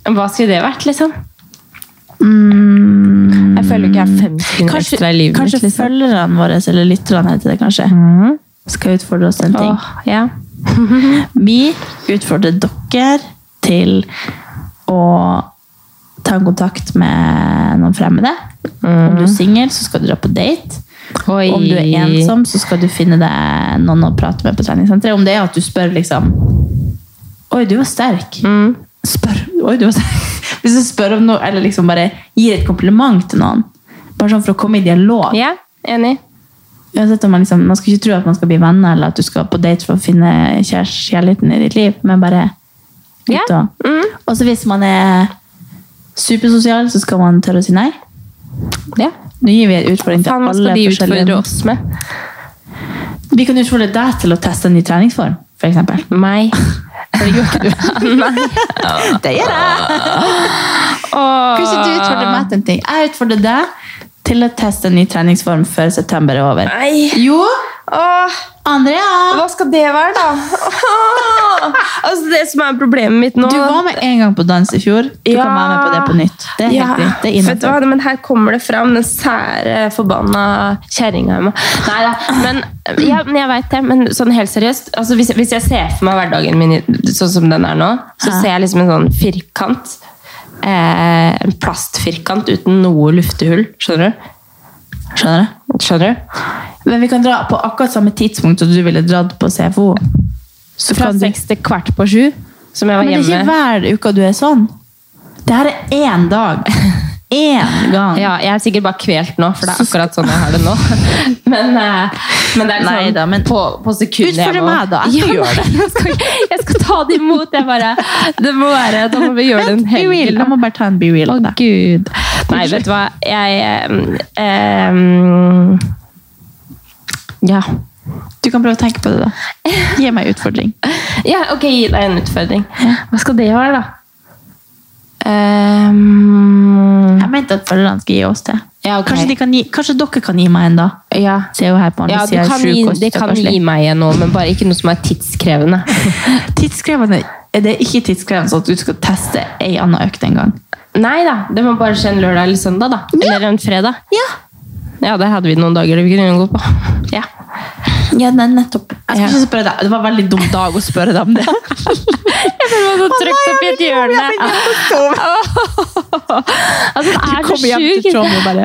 Speaker 1: Hva skulle det vært, liksom? Jeg føler ikke jeg har fem sekunder
Speaker 2: Mm. Kanskje,
Speaker 1: [laughs] ekstra i livet
Speaker 2: kanskje
Speaker 1: mitt. Liksom. Mhm.
Speaker 2: følgerne våre, eller lytterne heter det kanskje, skal utfordre oss en ting.
Speaker 1: Åh, ja.
Speaker 2: Vi utfordrer dere til å ta kontakt med noen fremmede. Om du er singel, så skal du dra på date.
Speaker 1: Oi.
Speaker 2: Om du er ensom, så skal du finne deg noen å prate med på treningssenteret. Om det er at du spør liksom Oi, du var sterk. Spør Oi, du var sterk. Hvis du spør om noe, eller liksom bare gir et kompliment til noen. Bare sånn for å komme i dialog.
Speaker 1: Ja, enig.
Speaker 2: Uansett om man, liksom, man skal ikke tro at man skal bli venner, eller at du skal på date for å finne kjæres- kjærligheten i ditt liv, men bare ut
Speaker 1: Ja. Mm.
Speaker 2: og Og så hvis man er supersosial, så skal man tørre å si nei.
Speaker 1: Ja.
Speaker 2: Nå gir vi en utfordring til
Speaker 1: Faen, hva
Speaker 2: alle
Speaker 1: skal de utfordre
Speaker 2: forskjellige
Speaker 1: oss med?
Speaker 2: Vi kan utfordre deg til å teste en ny treningsform, for eksempel.
Speaker 1: Meg.
Speaker 2: Det gjør ikke du.
Speaker 1: [laughs]
Speaker 2: det gjør jeg. Kanskje du utfordrer meg til en ting. Jeg utfordrer deg til å teste en ny treningsform før september er over.
Speaker 1: Nei.
Speaker 2: Jo,
Speaker 1: Åh,
Speaker 2: Andrea!
Speaker 1: hva skal det være, da? Åh. altså, det som er problemet mitt nå
Speaker 2: Du var med en gang på dans i fjor. Du
Speaker 1: Ja.
Speaker 2: kan være med på det på nytt. Det er helt greit. Det er
Speaker 1: vet du hva,
Speaker 2: innenfor.
Speaker 1: men her kommer det fram, den sære forbanna kjerringa i meg. Nei da, men ja, men jeg veit det. Men sånn helt seriøst, altså hvis, hvis jeg ser for meg hverdagen min i- sånn som den er nå, så
Speaker 2: Ja.
Speaker 1: ser jeg liksom en sånn firkant. Eh, en plastfirkant uten noe luftehull. Skjønner du?
Speaker 2: Skjønner du?
Speaker 1: Skjønner du?
Speaker 2: Men vi kan dra på akkurat samme tidspunkt som du ville dratt på CFO. Så
Speaker 1: Fra
Speaker 2: kan du-
Speaker 1: seks til kvart på sju, som jeg var
Speaker 2: Men det er ikke
Speaker 1: hjemme.
Speaker 2: hver uke du er sånn. Det her er én
Speaker 1: [laughs]
Speaker 2: dag. Én gang.
Speaker 1: Ja, jeg er sikkert bare kvelt nå, for det er akkurat sånn jeg har det nå. [laughs] Men, eh, men det er
Speaker 2: Nei
Speaker 1: sånn
Speaker 2: da, men-
Speaker 1: på, på sekundet
Speaker 2: Utfordre meg da, jeg skal gjøre det.
Speaker 1: Jeg skal, jeg skal ta det imot. Jeg bare, det må være, da må vi gjøre det en
Speaker 2: Be
Speaker 1: helg.
Speaker 2: real. Jeg må bare ta en be real.
Speaker 1: Å,
Speaker 2: da.
Speaker 1: gud. Nei, vet du hva. Jeg eh, em, Ja.
Speaker 2: Du kan prøve å tenke på
Speaker 1: [laughs]
Speaker 2: det, da. Gi meg en utfordring.
Speaker 1: Ja, ok, gi deg en utfordring. Hva skal det være, da? Em,
Speaker 2: Jeg mente at følgerne skal gi oss det.
Speaker 1: Ehm. Ja, ok.
Speaker 2: kanskje, de kan gi, kanskje dere kan gi meg en, da.
Speaker 1: ja.
Speaker 2: Så jeg er jo her på andre
Speaker 1: Ja, du
Speaker 2: siden, jeg er
Speaker 1: kan
Speaker 2: sjuk
Speaker 1: gi,
Speaker 2: og
Speaker 1: det kan
Speaker 2: stakkarslig.
Speaker 1: gi meg en nå, men bare ikke noe som er tidskrevende.
Speaker 2: [laughs] Tidskrevende er det ikke tidskrevende sånn at du skal teste ei annen økt en gang.
Speaker 1: Nei da, det må bare skje en lørdag eller søndag, da. Eller en fredag.
Speaker 2: Ja.
Speaker 1: Ja, der hadde vi noen dager vi kunne gå på. Ja.
Speaker 2: Ja, nei, nettopp. Jeg skulle ikke spørre deg. Det var en veldig dum dag å spørre deg om det.
Speaker 1: [laughs] Jeg føler meg så
Speaker 2: trykt opp i et hjørne.
Speaker 1: hjørne.
Speaker 4: Altså, det er så
Speaker 2: kommer hjem til
Speaker 4: sjukt.
Speaker 2: Trond og bare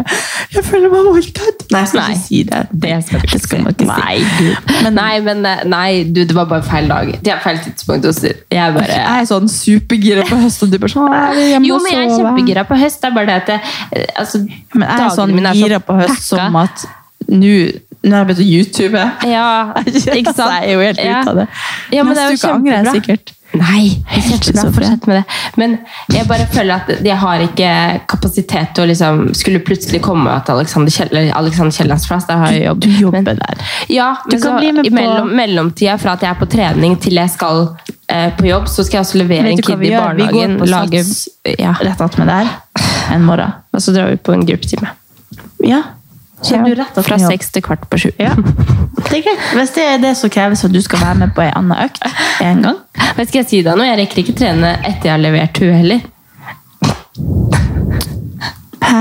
Speaker 2: 'Jeg føler meg voldtatt'. Nei, jeg skal
Speaker 1: Nei.
Speaker 2: ikke si det.
Speaker 1: Det skal du ikke si.
Speaker 2: Nei,
Speaker 1: Men nei, men eh, nei, du, det var bare feil dag. Det er feil tidspunkt. og så- Jeg bare
Speaker 2: Jeg er sånn supergira på høsten. Du bare sånn, «Å, jeg vil hjem
Speaker 1: Jo,
Speaker 2: og
Speaker 1: men jeg er
Speaker 2: sove».
Speaker 1: kjempegira på høst. Det er bare det at jeg, eh, altså,
Speaker 2: Men jeg er sånn
Speaker 1: dagene mine er så
Speaker 2: gira på høst
Speaker 1: packa.
Speaker 2: som at nå nå har jeg begynt å youtube.
Speaker 1: Ja, ikke sant?
Speaker 2: [laughs] Jeg er jo helt
Speaker 1: Ja.
Speaker 2: ute av det.
Speaker 1: Ja, men det er
Speaker 2: Neste
Speaker 1: jo
Speaker 2: uke angrer jeg
Speaker 1: kjempebra.
Speaker 2: sikkert.
Speaker 1: Nei, det er
Speaker 2: Helt
Speaker 1: kjempebra.
Speaker 2: schizofren.
Speaker 1: Fortsett med det. Men jeg bare føler at jeg har ikke kapasitet til å liksom Skulle plutselig komme at Alexander, Kjell, eller Alexander Kiellands plass, der har jeg jobb.
Speaker 2: Du jobber
Speaker 1: men,
Speaker 2: der.
Speaker 1: Ja,
Speaker 2: Du
Speaker 1: men
Speaker 2: kan
Speaker 1: så
Speaker 2: bli med
Speaker 1: i
Speaker 2: på-
Speaker 1: mellom, mellomtida fra at jeg er på trening til jeg skal eh, på jobb, så skal jeg også levere
Speaker 2: Vet
Speaker 1: en
Speaker 2: du hva
Speaker 1: kid
Speaker 2: vi
Speaker 1: i
Speaker 2: gjør? Vi går
Speaker 1: barnehagen.
Speaker 2: på
Speaker 1: lage-
Speaker 2: Sats.
Speaker 1: ja.
Speaker 2: Rett attmed der en morgen.
Speaker 1: Og så drar vi på en gruppetime.
Speaker 2: Ja. Så er du rett attmed
Speaker 1: Fra
Speaker 2: jobb.
Speaker 1: seks til kvart på sju.
Speaker 2: Ja. Det er greit. Hvis det er det som kreves at du skal være med på ei anna økt en
Speaker 1: [laughs]
Speaker 2: gang
Speaker 1: Men skal jeg si deg noe? Jeg rekker ikke trene etter jeg har levert hun heller.
Speaker 2: Hæ?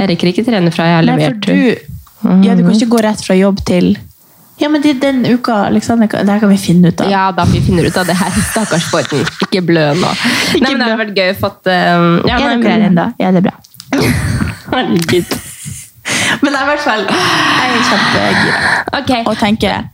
Speaker 1: Jeg rekker ikke trene fra jeg har
Speaker 2: Nei, for
Speaker 1: levert hun.
Speaker 2: du Ja, du kan ikke gå rett fra jobb til Ja, men det er den uka, Alexander, kan- det her kan vi finne ut av.
Speaker 1: Ja, da vi finner ut av det her. Stakkars Borten. Ikke blø nå. Nei, men Det hadde vært gøy å fått eh, ja,
Speaker 2: er
Speaker 1: nei,
Speaker 2: dere
Speaker 1: men-
Speaker 2: her ennå? Ja, det er bra.
Speaker 1: Herregud.
Speaker 2: Men jeg er i hvert fall jeg er kjempegira
Speaker 1: Ok.
Speaker 2: og tenker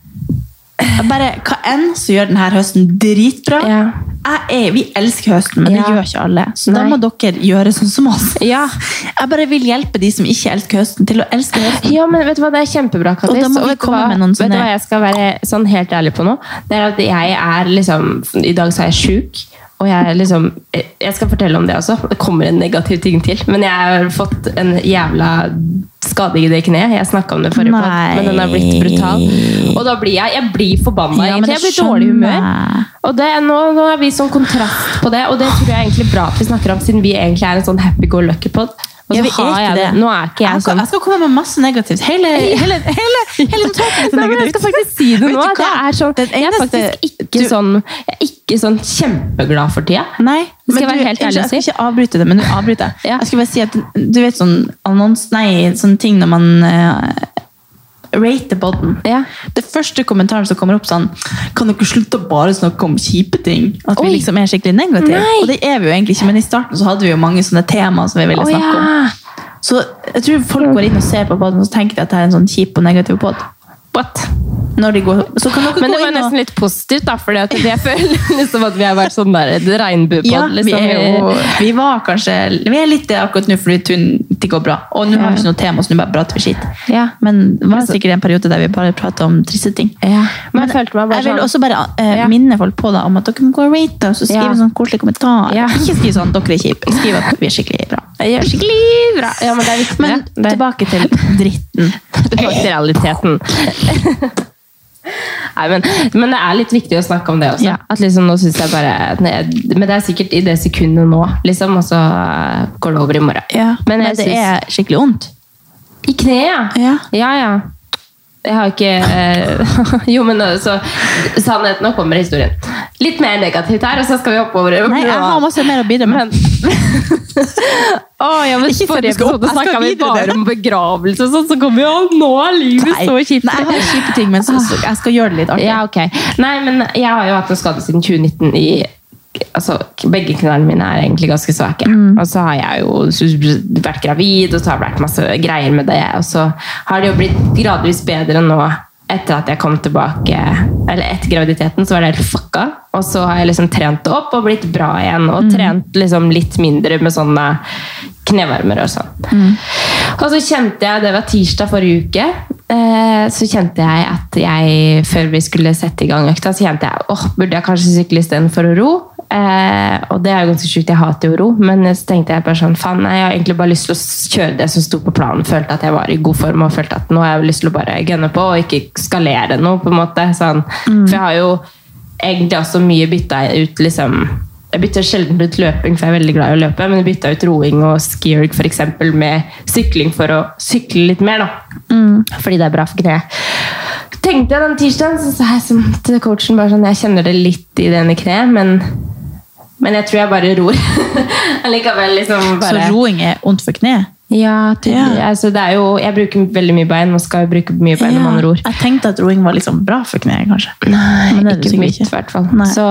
Speaker 2: [laughs] bare hva enn så gjør denne høsten dritbra.
Speaker 1: Ja.
Speaker 2: Jeg er, vi elsker høsten, men det
Speaker 1: Ja.
Speaker 2: gjør ikke alle. Så da
Speaker 1: Nei.
Speaker 2: må dere gjøre sånn som oss.
Speaker 1: Ja.
Speaker 2: [laughs] Jeg bare vil hjelpe de som ikke elsker høsten, til å elske høsten.
Speaker 1: Ja, men vet du hva, Det er kjempebra, Kattis.
Speaker 2: Og da må vi
Speaker 1: vet du
Speaker 2: komme
Speaker 1: hva-
Speaker 2: med noen
Speaker 1: Vet du
Speaker 2: sånne-
Speaker 1: hva jeg skal være sånn helt ærlig på nå? Det er at jeg er liksom I dag så er jeg sjuk. Og jeg, er liksom, jeg skal fortelle om det også. Det kommer en negativ ting til. Men jeg har fått en jævla skade i det kneet. Jeg snakka om det forrige
Speaker 2: Nei.
Speaker 1: podd, men den har blitt brutal. Og da blir jeg jeg blir forbanna.
Speaker 2: Ja, men det
Speaker 1: egentlig. jeg blir i dårlig
Speaker 2: skjønner
Speaker 1: humør.
Speaker 2: jeg.
Speaker 1: Og det, nå, nå er vi sånn kontrast på det, og det tror jeg er egentlig bra at vi snakker om, siden vi egentlig er en sånn happy-go-lucky-pod. Og
Speaker 2: Ja,
Speaker 1: så
Speaker 2: vi er
Speaker 1: har
Speaker 2: ikke
Speaker 1: jeg det.
Speaker 2: det.
Speaker 1: Nå er ikke jeg
Speaker 2: skal,
Speaker 1: sånn
Speaker 2: jeg altså skal komme med masse negativt. Hele, hele, hele, [laughs] hele notatet er
Speaker 1: Nei, men jeg skal
Speaker 2: negativt.
Speaker 1: faktisk si det
Speaker 2: Vet
Speaker 1: nå.
Speaker 2: du hva?
Speaker 1: Det er sånn,
Speaker 2: Den
Speaker 1: jeg er
Speaker 2: eneste-
Speaker 1: faktisk ikke,
Speaker 2: du-
Speaker 1: sånn, jeg er ikke sånn kjempeglad for tida.
Speaker 2: Nei,
Speaker 1: Det skal
Speaker 2: men
Speaker 1: jeg være helt
Speaker 2: unnskyld,
Speaker 1: ærlig og
Speaker 2: jeg skal
Speaker 1: si.
Speaker 2: ikke avbryte det, men nå avbryter jeg.
Speaker 1: [laughs] Ja.
Speaker 2: Jeg skulle bare si at du vet sånn annons, nei, sånne ting når man uh, rater podden.
Speaker 1: Ja.
Speaker 2: Det første kommentaren som kommer opp sånn, kan dere slutte å bare snakke om kjipe ting? At
Speaker 1: Oi.
Speaker 2: vi liksom er skikkelig negative.
Speaker 1: Nei.
Speaker 2: Og det er vi jo egentlig ikke, men i starten så hadde vi jo mange sånne temaer som vi ville
Speaker 1: Å,
Speaker 2: snakke om.
Speaker 1: ja.
Speaker 2: Så jeg tror folk går inn og ser på podden og så tenker de at det er en sånn kjip og negativ podd.
Speaker 1: What?
Speaker 2: Når de går, så kan dere
Speaker 1: Men det
Speaker 2: gå
Speaker 1: var
Speaker 2: inn og...
Speaker 1: nesten litt positivt, da, for jeg [laughs] føler liksom at vi har vært sånn der det regnbuepod.
Speaker 2: Ja, vi,
Speaker 1: liksom.
Speaker 2: er jo, vi var kanskje Vi er litt det akkurat nå fordi tun- det går bra. Og nå har vi ikke noe tema, så nå bare prater vi skitt.
Speaker 1: Ja.
Speaker 2: Men det var sikkert en periode der vi bare prater om triste ting.
Speaker 1: Ja. Men jeg følte meg bare
Speaker 2: jeg vil
Speaker 1: sånn-
Speaker 2: også bare eh,
Speaker 1: Ja.
Speaker 2: minne folk på da, om at dere må gå og rate oss og skrive
Speaker 1: Ja.
Speaker 2: en sånn koselig kommentar.
Speaker 1: Ja.
Speaker 2: Ikke skriv sånn 'dere er kjipe'. Skriv at vi er skikkelig bra.
Speaker 1: [laughs] Jeg gjør skikkelig bra. Ja, men det er viktig.
Speaker 2: Men
Speaker 1: det. Det-
Speaker 2: tilbake til dritten.
Speaker 1: tilbake til realiteten. [laughs] Nei, men, men det er litt viktig å snakke om det også.
Speaker 2: Ja.
Speaker 1: At liksom, nå synes jeg bare, men det er sikkert i det sekundet nå, liksom, og så eh, går det over i morgen.
Speaker 2: Men,
Speaker 1: Men, jeg
Speaker 2: det
Speaker 1: synes,
Speaker 2: er skikkelig vondt.
Speaker 1: I kneet,
Speaker 2: Ja.
Speaker 1: Ja, ja. Jeg har ikke eh, [laughs] Jo, men altså Sannheten, nå kommer historien. Litt mer negativt her, og så skal vi hoppe over.
Speaker 2: Nei, jeg har masse mer å bidra med.
Speaker 1: Å, ja, men
Speaker 2: Ikke for
Speaker 1: Forrige
Speaker 2: du skal opp,
Speaker 1: episode
Speaker 2: jeg skal
Speaker 1: snakka vi
Speaker 2: videre,
Speaker 1: bare
Speaker 2: dere.
Speaker 1: om begravelse, og sånn, så kom vi jo Nå er livet så kjipt!
Speaker 2: Nei, jeg har kjipe ting, men så, så, jeg skal gjøre det litt artig.
Speaker 1: Ja, ok. Nei, men jeg har jo hatt en skade siden 2019 i Altså, begge knærne mine er egentlig ganske svake. Og så har jeg jo vært gravid, og så har det vært masse greier med det. Og så har det jo blitt gradvis bedre nå etter at jeg kom tilbake Eller etter graviditeten, så var det helt fucka. Og så har jeg liksom trent det opp og blitt bra igjen. Og trent liksom litt mindre med sånne knevarmer og sånn. Og så kjente jeg, det var tirsdag forrige uke, eh, så kjente jeg at jeg, før vi skulle sette i gang økta, så kjente jeg, åh, burde jeg kanskje sykle istedenfor å ro? Eh, og det er jo ganske sjukt, jeg hater jo å ro, men så tenkte jeg bare sånn, faen, nei, jeg har egentlig bare lyst til å kjøre det som sto på planen, følte at jeg var i god form, og følte at nå har jeg lyst til å bare gønne på, og ikke skalere noe, på en måte, sånn. For jeg har jo egentlig også mye bytta ut, liksom, jeg bytter sjelden ut løping, for jeg er veldig glad i å løpe, men jeg bytta ut roing og skierg for eksempel med sykling for å sykle litt mer, da. Mm, Fordi det er bra for kneet. Tenkte jeg den tirsdagen, så sa jeg sånn til coachen bare sånn, jeg kjenner det litt i det ene kneet, men, men jeg tror jeg bare ror. [laughs] Allikevel liksom
Speaker 2: Så
Speaker 1: bare...
Speaker 2: roing er vondt for kneet?
Speaker 1: Ja, tydelig.
Speaker 5: Ja.
Speaker 1: Altså, det er jo, jeg bruker veldig mye bein. Man skal jo bruke mye bein når man ror.
Speaker 5: Jeg tenkte at roing var liksom bra for kneet, kanskje.
Speaker 1: Nei,
Speaker 5: Men det er det
Speaker 1: ikke
Speaker 5: sikkert
Speaker 1: mitt, i
Speaker 5: ikke.
Speaker 1: hvert fall.
Speaker 5: Nei.
Speaker 1: Så,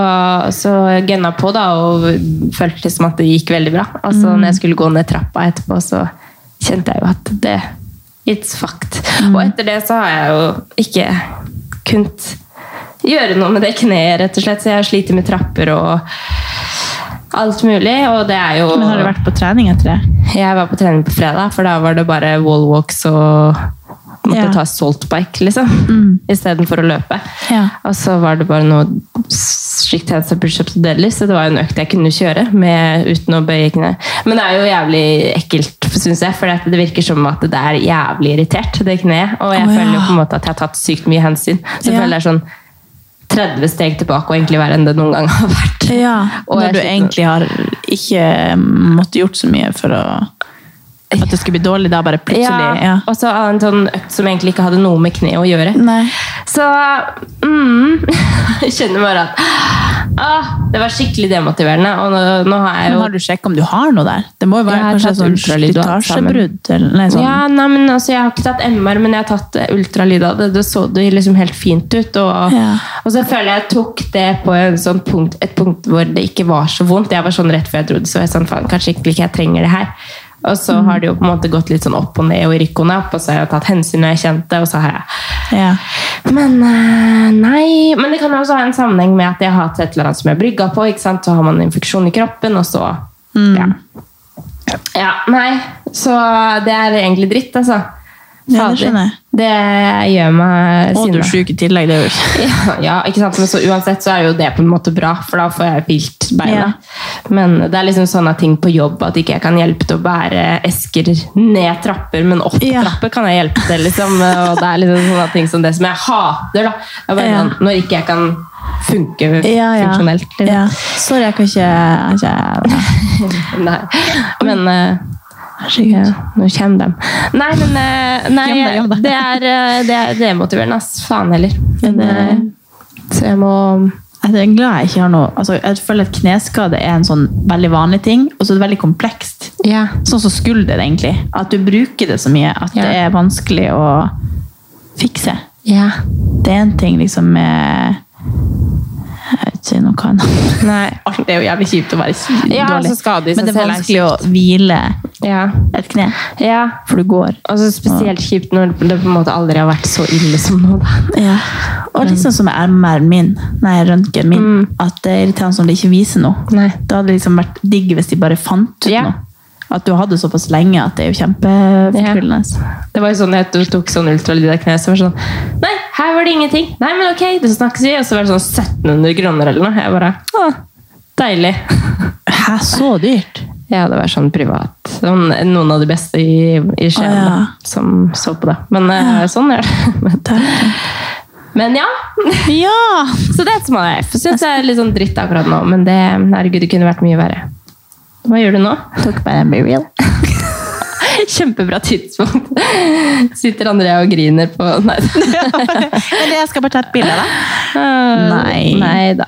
Speaker 1: så jeg gønna på, da, og følte liksom at det gikk veldig bra. Og så
Speaker 5: Mm.
Speaker 1: når jeg skulle gå ned trappa etterpå, så kjente jeg jo at det It's fucked.
Speaker 5: Mm.
Speaker 1: Og etter det så har jeg jo ikke kunnet gjøre noe med det kneet, rett og slett. Så jeg sliter med trapper og alt mulig, og det er jo
Speaker 5: Men har du vært på trening etter det?
Speaker 1: Jeg var på trening på fredag, for da var det bare wall walks og måtte
Speaker 5: Ja. Mm.
Speaker 1: ta saltbike, liksom. Istedenfor å løpe.
Speaker 5: Ja.
Speaker 1: Og så var det bare noe strict hands up pushups og deadlifts, så det var en økt jeg kunne kjøre med, uten å bøye kne. Men det er jo jævlig ekkelt, syns jeg, for det virker som at det er jævlig irritert, det kneet. Og jeg
Speaker 5: Å, ja.
Speaker 1: føler jo på en måte at jeg har tatt sykt mye hensyn. Så jeg
Speaker 5: Ja.
Speaker 1: føler det er sånn 30 steg tilbake og egentlig verre enn det noen gang har vært. liksom. Og jeg
Speaker 5: Når du
Speaker 1: sliter-
Speaker 5: egentlig har ikke måttet gjort så mye for å at det skulle bli dårlig, da bare plutselig
Speaker 1: Ja,
Speaker 5: ja.
Speaker 1: og så en sånn økt som egentlig ikke hadde noe med kneet å gjøre.
Speaker 5: Nei.
Speaker 1: Så mm, [laughs] Jeg kjenner bare at ah, Det var skikkelig demotiverende. Og nå, nå har jeg
Speaker 5: Men
Speaker 1: jo
Speaker 5: har du sjekket om du har noe der? Det må jo
Speaker 1: Jeg
Speaker 5: være
Speaker 1: har
Speaker 5: kanskje
Speaker 1: tatt
Speaker 5: sånn
Speaker 1: ultralyd og alt sammen.
Speaker 5: slitasjebrudd? eller- Nei, sånn.
Speaker 1: ja, nei, men altså, Jeg har ikke tatt MR, men jeg har tatt eh, ultralyd av det. Det så det liksom helt fint ut. Og,
Speaker 5: Ja.
Speaker 1: og så føler jeg jeg tok det på en sånn punkt, et punkt hvor det ikke var så vondt. Jeg var sånn rett før jeg dro det, så var jeg sånn, faen, kanskje ikke jeg trenger det her. Og så
Speaker 5: Mm.
Speaker 1: har det jo på en måte gått litt sånn opp og ned og i rykk og napp, og så har jeg tatt hensyn når jeg kjente, og så har jeg
Speaker 5: Ja.
Speaker 1: Men eh, nei Men det kan også ha en sammenheng med at jeg har hatt et eller annet som jeg brygga på. ikke sant? Så har man en infeksjon i kroppen, og så ja. ja. Nei, så det er egentlig dritt, altså.
Speaker 5: Ja, det
Speaker 1: Fader.
Speaker 5: skjønner jeg.
Speaker 1: Det gjør meg
Speaker 5: Og du er
Speaker 1: sinna.
Speaker 5: syk i tillegg, det er jo ikke
Speaker 1: [laughs] Ja, ikke sant? Men så uansett så er jo det på en måte bra, for da får jeg hvilt beina. Men det er liksom sånne ting på jobb at ikke jeg kan hjelpe til å bære esker ned trapper, men opp
Speaker 5: Ja.
Speaker 1: trapper kan jeg hjelpe til, liksom. Og det er liksom sånne ting som det som jeg hater, da. Det er bare
Speaker 5: Ja.
Speaker 1: sånn, når ikke jeg kan funke funksjonelt. Liksom.
Speaker 5: Ja. Sorry, jeg kan ikke, jeg kan ikke
Speaker 1: Nei. Men eh, ja, nå kommer dem. Nei, men eh, nei,
Speaker 5: Gjem deg, gjem deg.
Speaker 1: Det, er, eh, det er demotiverende, ass. Faen heller. Men, eh, så jeg må
Speaker 5: Jeg er glad jeg ikke har noe altså, Jeg føler at kneskade er en sånn veldig vanlig ting, og så er det veldig komplekst.
Speaker 1: Ja.
Speaker 5: Sånn som skulder, egentlig. At du bruker det så mye at
Speaker 1: Ja.
Speaker 5: det er vanskelig å fikse.
Speaker 1: ja.
Speaker 5: Det er en ting liksom med Jeg vet ikke noe hva annet.
Speaker 1: Nei.
Speaker 5: [laughs] Alt er jo jævlig kjipt å være sy-
Speaker 1: Ja,
Speaker 5: dårlig.
Speaker 1: altså skade i seg
Speaker 5: Men det er
Speaker 1: selv er
Speaker 5: vanskelig å hvile
Speaker 1: Ja.
Speaker 5: et kne,
Speaker 1: ja.
Speaker 5: for du går.
Speaker 1: Og så spesielt kjipt når det på en måte aldri har vært så ille som nå. Da.
Speaker 5: Ja. Og liksom som er MR-en min, nei, røntgen min, at det er irriterende som det ikke viser noe.
Speaker 1: Mm. Nei.
Speaker 5: Det hadde liksom vært digg hvis de bare fant ut
Speaker 1: Ja.
Speaker 5: noe. At du har det såpass lenge at det er jo kjempefortryllende.
Speaker 1: Det var jo sånn jeg tok- tok sånn ultralyd av kneet, så var det sånn Nei, her var det ingenting. Nei, men ok, det snakkes vi. Og så var det sånn 1700 kroner eller noe. Jeg bare Å, deilig. [laughs]
Speaker 5: Hæ, så dyrt?
Speaker 1: Ja, det var sånn privat. Sånn, noen av de beste i, i Skien
Speaker 5: Å, ja.
Speaker 1: da, som så på det. Men eh, sånn er det. [laughs] Men, men ja. [laughs]
Speaker 5: Ja!
Speaker 1: Så det er et small F. Syns jeg er litt sånn dritt akkurat nå, men det, herregud, det kunne vært mye verre. Hva gjør du nå?
Speaker 5: Tok bare en be real.
Speaker 1: Kjempebra tidspunkt. Sitter Andrea og griner på Nei.
Speaker 5: Men jeg skal bare ta et bilde av deg. Nei.
Speaker 1: Nei da.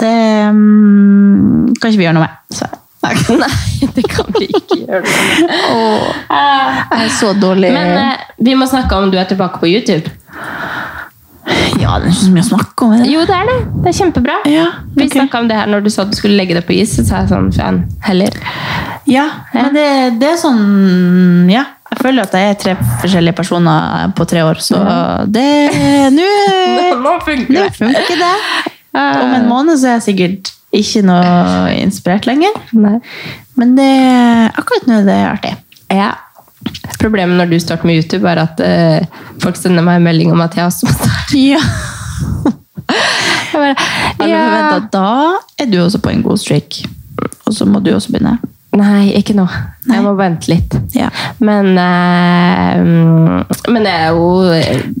Speaker 5: Det mm, kan ikke vi gjøre noe med. Så.
Speaker 1: [laughs] Nei, det kan vi ikke gjøre noe med.
Speaker 5: Jeg
Speaker 1: Ah.
Speaker 5: er så dårlig
Speaker 1: Men eh, vi må snakke om du er tilbake på YouTube.
Speaker 5: Ja, det er ikke så mye å snakke om. er det?
Speaker 1: Jo, det er det. Det er kjempebra. Vi snakka om det her når du sa du skulle legge det på is. Så sa jeg sånn faen, heller.
Speaker 5: Ja, men det, det er sånn Ja. Jeg føler at jeg er tre forskjellige personer på tre år, så det
Speaker 1: [laughs]
Speaker 5: Nå
Speaker 1: [laughs] Nå
Speaker 5: nå funker det. Om en måned så er jeg sikkert ikke noe inspirert lenger. Men det, akkurat nå er det artig.
Speaker 1: Ja. Problemet når du starter med YouTube, er at eh, folk sender meg en melding om at jeg også må [laughs] starte.
Speaker 5: Ja.
Speaker 1: Alle forventer
Speaker 5: at da er du også på en god streak. Og så må du også begynne.
Speaker 1: Nei, ikke nå. Jeg må vente litt. Men eh, mm, Men det er jo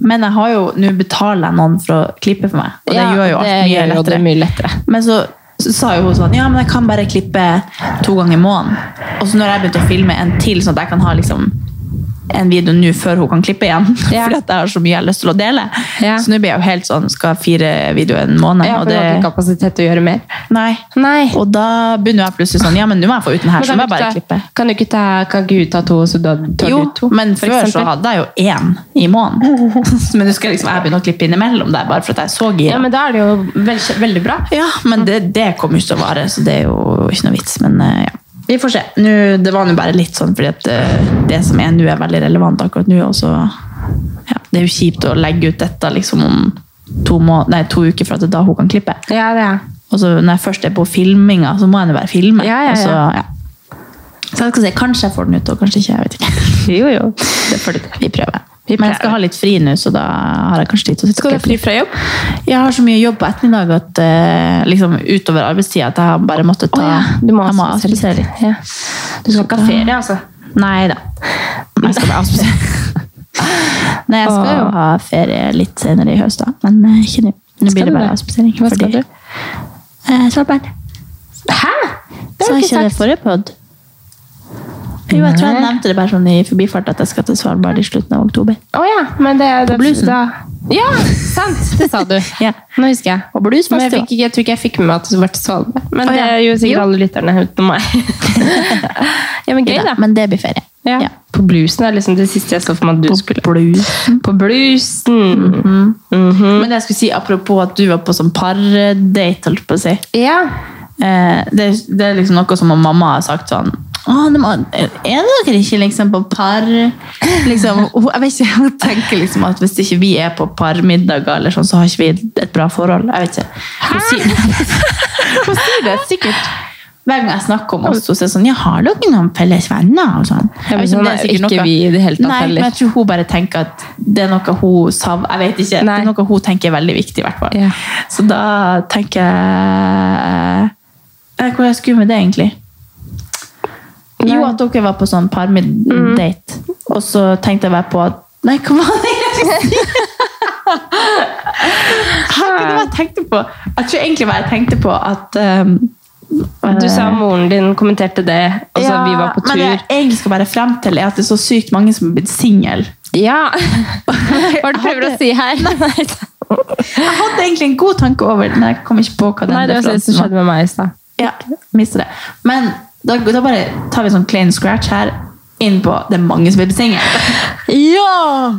Speaker 5: Men jeg har jo, nå betaler jeg noen for å klippe for meg, og det
Speaker 1: Ja,
Speaker 5: gjør jo alt
Speaker 1: det
Speaker 5: mye,
Speaker 1: gjør jo
Speaker 5: lettere.
Speaker 1: det mye lettere.
Speaker 5: Men så, så sa jo hun sånn, ja, men jeg kan bare klippe to ganger i måneden. Og så når jeg begynte å filme en til, sånn at jeg kan ha liksom en video nå før hun kan klippe igjen, [laughs] fordi at jeg har så mye jeg har lyst til å dele. Så nå blir jeg jo helt sånn, skal ha fire videoer en måned.
Speaker 1: Ja, for
Speaker 5: og
Speaker 1: du har ikke kapasitet til å gjøre mer.
Speaker 5: Nei. Og da begynner jeg plutselig sånn, ja, men nå må jeg få ut den her, så må
Speaker 1: Men
Speaker 5: jeg
Speaker 1: kan,
Speaker 5: bare
Speaker 1: du ikke
Speaker 5: klippe.
Speaker 1: ta, kan du ikke ta Kan ikke du ta to, så da tar
Speaker 5: Jo,
Speaker 1: du to?
Speaker 5: men
Speaker 1: for
Speaker 5: før så
Speaker 1: eksempel?
Speaker 5: hadde jeg jo én i
Speaker 1: [laughs]
Speaker 5: måneden. Men nå skal jeg liksom, jeg begynne å klippe innimellom der, bare for at jeg er så gira.
Speaker 1: Ja, men da er det jo vel- veldig bra.
Speaker 5: Ja, men det, det kommer jo ikke til å vare, så det er jo ikke noe vits. Men eh, ja. Vi får se. Nå, det var nå bare litt sånn fordi at eh, det som er nå, er veldig relevant akkurat nå. Og så ja, Det er jo kjipt å legge ut dette liksom om to, må nei, to uker fra til da hun kan klippe.
Speaker 1: Ja, det er.
Speaker 5: Og så når jeg først er på filminga, så må jeg nå bare filme.
Speaker 1: Ja, ja,
Speaker 5: Og så,
Speaker 1: ja.
Speaker 5: ja. så jeg skal se, kanskje jeg får den ut, og kanskje ikke. jeg vet ikke.
Speaker 1: Jo, jo.
Speaker 5: Det får du til. Vi prøver. Men jeg skal ha litt fri nå, så da har jeg kanskje tid til å sitte
Speaker 1: Skal du ha fri
Speaker 5: fra jobb? Jeg har så mye jobb på ettermiddag at eh, liksom utover arbeidstida at jeg har bare måttet ta
Speaker 1: Du må
Speaker 5: jeg må
Speaker 1: avspasere litt. Ja. Du skal ikke ha ferie, altså?
Speaker 5: Nei da. Jeg skal
Speaker 1: [laughs]
Speaker 5: bare avspasere. Nei, jeg skal jo ha ferie litt senere i høst, da. Men eh, ikke nå. Nå
Speaker 1: Skal
Speaker 5: blir
Speaker 1: du
Speaker 5: det bare
Speaker 1: det?
Speaker 5: avspasering.
Speaker 1: Hva skal du?
Speaker 5: Eh, Svalbard.
Speaker 1: Hæ? Det
Speaker 5: Sa
Speaker 1: har du
Speaker 5: ikke
Speaker 1: ikke
Speaker 5: det
Speaker 1: sagt.
Speaker 5: forrige pod? Jo, jeg tror jeg
Speaker 1: Nei.
Speaker 5: nevnte det bare sånn i forbifart at jeg skal til Svalbard i slutten av oktober.
Speaker 1: Å ja, men det, det
Speaker 5: bluesen.
Speaker 1: Da. Ja, sant! Det sa
Speaker 5: [laughs]
Speaker 1: du. Nå husker jeg.
Speaker 5: Og blues
Speaker 1: Men jeg,
Speaker 5: faktisk,
Speaker 1: fikk, ikke- jeg tror ikke jeg fikk med meg at du var til Svalbard. Men
Speaker 5: Å, ja.
Speaker 1: det gjorde sikkert
Speaker 5: Jo.
Speaker 1: alle lytterne utenom
Speaker 5: [laughs]
Speaker 1: meg. [laughs] ja, men gøy, da.
Speaker 5: Men det blir ferie.
Speaker 1: Ja. På bluesen er liksom det siste jeg så for meg at du skulle På bluesen. Mm.
Speaker 5: Men jeg skulle si, apropos at du var på sånn pardate, holdt på å si. Eh, det, det er liksom noe som mamma har sagt sånn «Å, de, Er dere ikke liksom på par
Speaker 1: [laughs]
Speaker 5: liksom, hun- Jeg vet ikke, Hun tenker liksom at hvis ikke vi er på parmiddager, eller sånn, så har ikke vi et bra forhold. Jeg vet ikke. Hun sier,
Speaker 1: [laughs]
Speaker 5: hun sier det sikkert. Hver gang jeg snakker om oss, så sier hun sånn «Ja, har dere noen felles venner? Og sånn.
Speaker 1: Ja, men
Speaker 5: Jeg vet om
Speaker 1: sånn
Speaker 5: det
Speaker 1: er
Speaker 5: sikkert
Speaker 1: ikke vi i det hele tatt
Speaker 5: Nei,
Speaker 1: heller.
Speaker 5: men jeg tror hun bare tenker at det er noe hun sav... Jeg vet ikke. Det er noe hun tenker er veldig viktig, i hvert fall. Så da tenker jeg Eh, Hvor jeg skulle med det, egentlig? Jo, at dere var på sånn parmid-date, og så tenkte jeg bare på at Nei, hva var det jeg skulle [laughs] si? Hva var det jeg tenkte på? Jeg tror egentlig hva jeg tenkte på, at eh,
Speaker 1: Du sa moren din kommenterte det, og så vi var på
Speaker 5: Men det jeg
Speaker 1: tur.
Speaker 5: egentlig skal være frem til, er at det er så sykt mange som er blitt single.
Speaker 1: [laughs] Ja! Hva er det du prøver å si her? Nei,
Speaker 5: Jeg hadde egentlig en god tanke over det, men jeg kom ikke på hva den
Speaker 1: sånn det var det som
Speaker 5: referansen var.
Speaker 1: skjedde med meg i stad.
Speaker 5: Ja, mister det. Men da, da bare tar vi sånn clean scratch her inn på det er mange som er besinget. ja!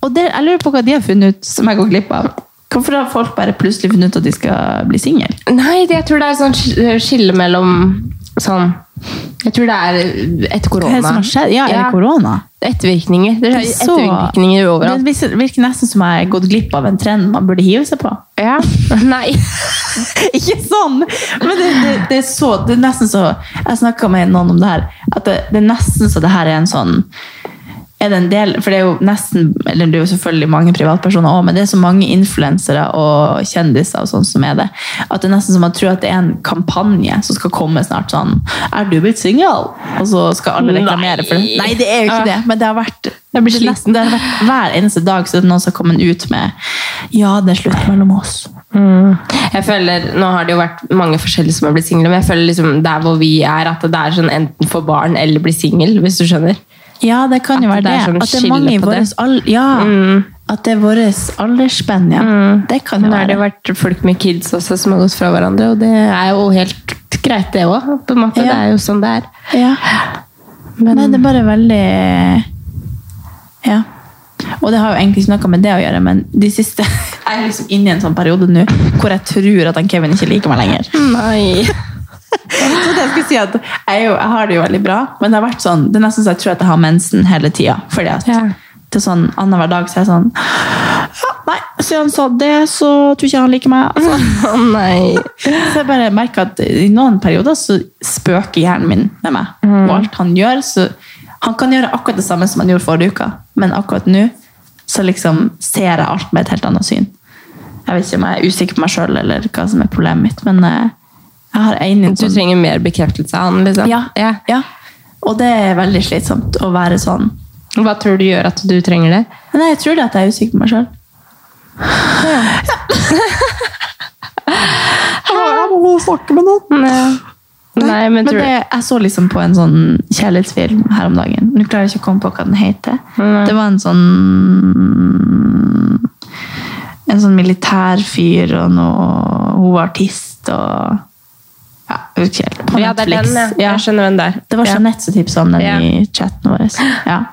Speaker 5: Og det, jeg lurer på hva de har funnet ut som jeg går glipp av. Hvorfor har folk bare plutselig funnet ut at de skal bli single?
Speaker 1: Nei, det- jeg tror det er eh, sånn sk- skille mellom sånn Jeg tror det er etter korona.
Speaker 5: Hva er det som har skjedd? Ja, er det korona?
Speaker 1: Ettervirkninger. Det er
Speaker 5: Så-
Speaker 1: ettervirkninger overalt.
Speaker 5: Det virker- virker nesten som jeg har gått glipp av en trend man burde hive seg på.
Speaker 1: [laughs] Ja, nei.
Speaker 5: [laughs] Ikke sånn! Men det, det, det er så det er nesten så Jeg snakka med noen om det her. At det, det er nesten så det her er en sånn er det en del, for det er jo nesten, eller det er jo selvfølgelig mange privatpersoner også, men det er så mange influensere og kjendiser og sånn som er det, at det er nesten som man tror at det er en kampanje som skal komme snart sånn, er du blitt single? Og så skal alle reklamere for det.
Speaker 6: Nei.
Speaker 5: Nei, det er jo ikke det, men det har vært, det er nesten, det har vært hver eneste dag så er det noen som har kommet ut med, ja, det er slutt mellom oss.
Speaker 1: Jeg føler, Nå har det jo vært mange forskjellige som har blitt single, men jeg føler liksom der hvor vi er, at det er sånn enten få barn eller bli singel, hvis du skjønner.
Speaker 5: Ja, det kan jo være
Speaker 1: At det
Speaker 5: det.
Speaker 1: er sånn
Speaker 5: at det er
Speaker 1: skille
Speaker 5: mange i
Speaker 1: på det. Mm.
Speaker 5: våres al ja, at det er våres aldersspenn, ja. Det kan jo
Speaker 1: Nå har
Speaker 5: være.
Speaker 1: Mm. Sånn det vært folk med kids også som har gått fra hverandre, og det er jo helt greit, det òg. måte. Det er jo sånn det er.
Speaker 5: Ja. Nei, det er bare veldig Ja. Og det har jo egentlig ikke noe med det å gjøre, men de siste [laughs] Jeg er liksom inne i en sånn periode nå hvor jeg tror at han Kevin ikke liker meg lenger.
Speaker 1: [laughs] Nei.
Speaker 5: Så det [laughs] jeg skulle si at jeg, er jo, jeg har det jo veldig bra, men det har vært sånn, det er nesten så jeg tror at jeg har mensen hele tida. Fordi at til sånn annenhver dag så er jeg sånn ja, Nei, siden han sa det, så tror ikke han liker meg. Altså. Så jeg bare merker at i noen perioder så spøker hjernen min med meg. Og alt han gjør, så Han kan gjøre akkurat det samme som han gjorde forrige uke, men akkurat nå så liksom ser jeg alt med et helt annet syn. Jeg vet ikke om jeg er usikker på meg sjøl eller hva som er problemet mitt, men eh, jeg har en
Speaker 1: Du trenger mer bekreftelse av han, liksom.
Speaker 5: Ja, ja. Og det er veldig slitsomt å være sånn.
Speaker 1: Hva tror du gjør at du trenger det?
Speaker 5: Nei, jeg tror det at jeg er usikker på meg sjøl. Jeg må snakke med noen.
Speaker 1: Nei, men, tror
Speaker 5: det, jeg så liksom på en sånn kjærlighetsfilm her om dagen. Nå klarer jeg ikke å komme på hva den heter. Det var en sånn En sånn militær fyr, og noe Hun var artist, og Ja, jeg vet ikke helt. På
Speaker 1: Ja, det er
Speaker 5: Netflix.
Speaker 1: den, ja. sånn Jeg skjønner den der.
Speaker 5: Det var
Speaker 1: Ja.
Speaker 5: Jeanette som tipsa om den
Speaker 1: Ja.
Speaker 5: i chatten vår. Ja.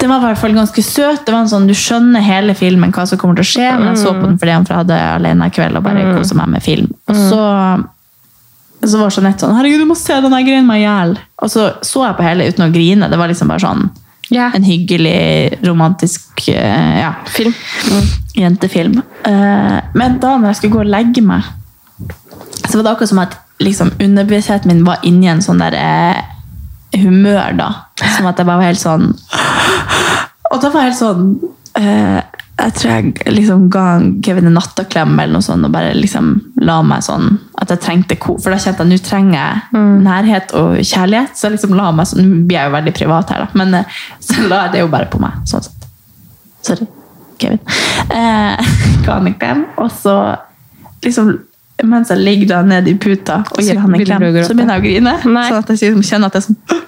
Speaker 5: Den var i hvert fall ganske søt. Det var en sånn, Du skjønner hele filmen hva som kommer til å skje, men jeg så
Speaker 1: Mm.
Speaker 5: på den fordi han hadde alene i kveld og bare koset meg med film. Og så,
Speaker 1: Mm.
Speaker 5: så var Jeanette sånn 'Herregud, du må se den der greien med hjel'. Og så så jeg på hele uten å grine. Det var liksom bare sånn en hyggelig, romantisk eh, ja.
Speaker 1: film.
Speaker 5: Jentefilm. Eh, men da når jeg skulle gå og legge meg så var det akkurat som at liksom, underbevisstheten min var inni en sånn der eh, humør, da. Som at jeg bare var helt sånn Og da var jeg helt sånn eh, Jeg tror jeg liksom ga han Kevin en nattaklem eller noe sånt, og bare liksom la meg sånn at jeg trengte ko. For da kjente jeg nå trenger jeg
Speaker 1: Mm.
Speaker 5: nærhet og kjærlighet. Så jeg liksom la meg sånn Nå blir jeg jo veldig privat her, da, men eh, så la jeg det jo bare på meg. sånn sett. Sorry, Kevin. Eh, [laughs] ga han en klem, og så liksom mens jeg ligger da ned i puta og
Speaker 1: Så
Speaker 5: gir han en
Speaker 1: begynner
Speaker 5: klem,
Speaker 1: du å gråte.
Speaker 5: så begynner jeg å grine. Sånn at jeg liksom kjenner at jeg er sånn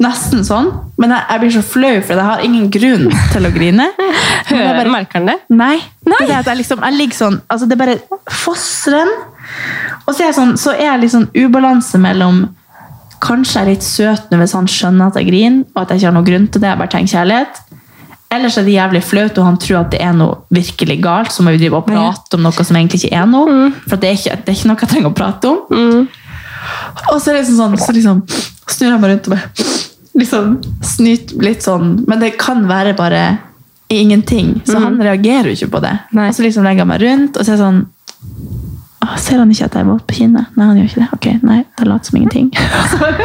Speaker 5: Nesten sånn. Men jeg, jeg blir så flau, for jeg har ingen grunn til å grine.
Speaker 1: Hører- merker han det?
Speaker 5: Nei. Det er det at jeg, liksom, jeg ligger sånn altså Det er bare fosseren. Og så er jeg, sånn, så er jeg litt sånn ubalanse mellom Kanskje jeg er litt søt nå hvis han skjønner at jeg griner, og at jeg ikke har noen grunn til det. jeg bare trenger kjærlighet. Ellers er det jævlig flaut, og han tror at det er noe virkelig galt. Så må vi drive og prate om noe som egentlig ikke er noe. For det er ikke, det er ikke noe jeg trenger å prate om. Og så er det liksom sånn, så liksom snur jeg meg rundt og bare liksom snyt litt sånn. Men det kan være bare ingenting. Så han reagerer jo ikke på det. Og så liksom legger jeg meg rundt og så er jeg sånn «Åh, Ser han ikke at jeg er våt på kinnet? Nei, han gjør ikke det. Ok, nei, da later som ingenting.
Speaker 1: [laughs]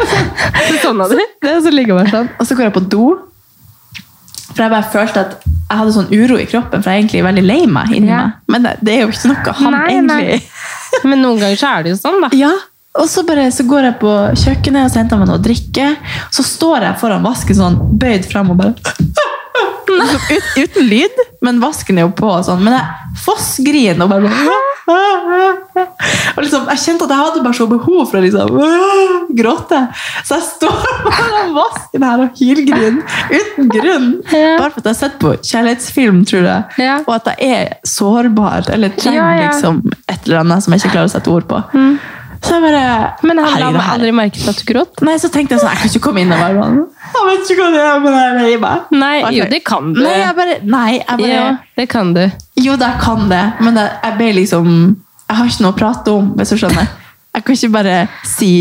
Speaker 1: Sånn
Speaker 5: Så, det, så ligger jeg bare sånn. Og så går jeg på do. For jeg bare følte at jeg hadde sånn uro i kroppen, for jeg er egentlig veldig lei meg inni meg. Men det, det er jo ikke noe han
Speaker 1: Nei, nei.
Speaker 5: egentlig
Speaker 1: [laughs] Men noen ganger så er det jo sånn, da.
Speaker 5: Ja, og så, bare, så går jeg på kjøkkenet og så henter jeg meg noe å drikke. Så står jeg foran vasken sånn, bøyd frem og bare [laughs] Liksom ut, Uten lyd, men vasken er jo på. Og sånn. Men jeg fossgrin og bare [laughs] og liksom, Jeg kjente at jeg hadde bare så behov for å liksom [laughs] gråte. Så jeg står [laughs] foran vasken her og hylgriner uten grunn. Bare for at jeg har sett på kjærlighetsfilm, tror jeg. Og at jeg er sårbar eller trenger
Speaker 1: Ja, Mm. ja.
Speaker 5: liksom et eller annet som jeg ikke klarer å sette ord på. Så jeg bare
Speaker 1: Men han la meg
Speaker 5: Herregud, det her-
Speaker 1: aldri merke til at du gråt.
Speaker 5: Nei, så tenkte jeg sånn, jeg kan ikke komme inn og være sånn Jeg vet ikke hva det er, men jeg er lei meg.
Speaker 1: Nei,
Speaker 5: Og jeg
Speaker 1: jo,
Speaker 5: bare-
Speaker 1: det kan du.
Speaker 5: Nei, jeg bare, nei, jeg bare
Speaker 1: Ja, det kan du.
Speaker 5: Jo, da jeg kan det, men jeg, jeg ble liksom Jeg har ikke noe å prate om, hvis du skjønner. Jeg kan ikke bare si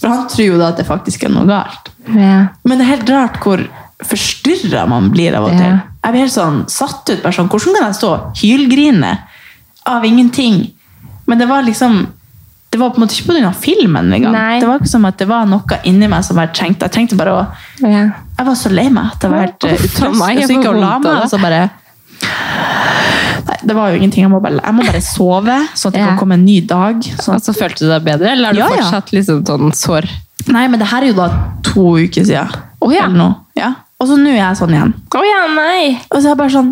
Speaker 5: For han tror jo da at det faktisk er noe galt. Men det er helt rart hvor forstyrra man blir av og til. Jeg blir helt sånn satt ut. Bare sånn, hvordan kan jeg stå og hylgrine av ingenting? Men det var liksom det var på en måte ikke på grunn av filmen engang.
Speaker 1: Nei.
Speaker 5: Det var ikke som at det var noe inni meg som jeg trengte. Jeg trengte bare å Jeg var så lei meg at jeg var helt eh,
Speaker 1: Uff a
Speaker 5: utrøst.
Speaker 1: meg, altså, jeg
Speaker 5: Så gikk jeg
Speaker 1: får
Speaker 5: og la
Speaker 1: vondt av det.
Speaker 5: meg, og så bare Nei, det var jo ingenting. Jeg må bare, jeg må bare sove, sånn at det kan komme en ny dag. Sånn.
Speaker 1: Og så altså, følte du deg bedre, eller er du
Speaker 5: Ja, ja.
Speaker 1: fortsatt liksom sånn sår?
Speaker 5: Nei, men det her er jo da to uker siden. Eller noe. Ja. Og så nå er jeg sånn igjen. Og så er jeg bare sånn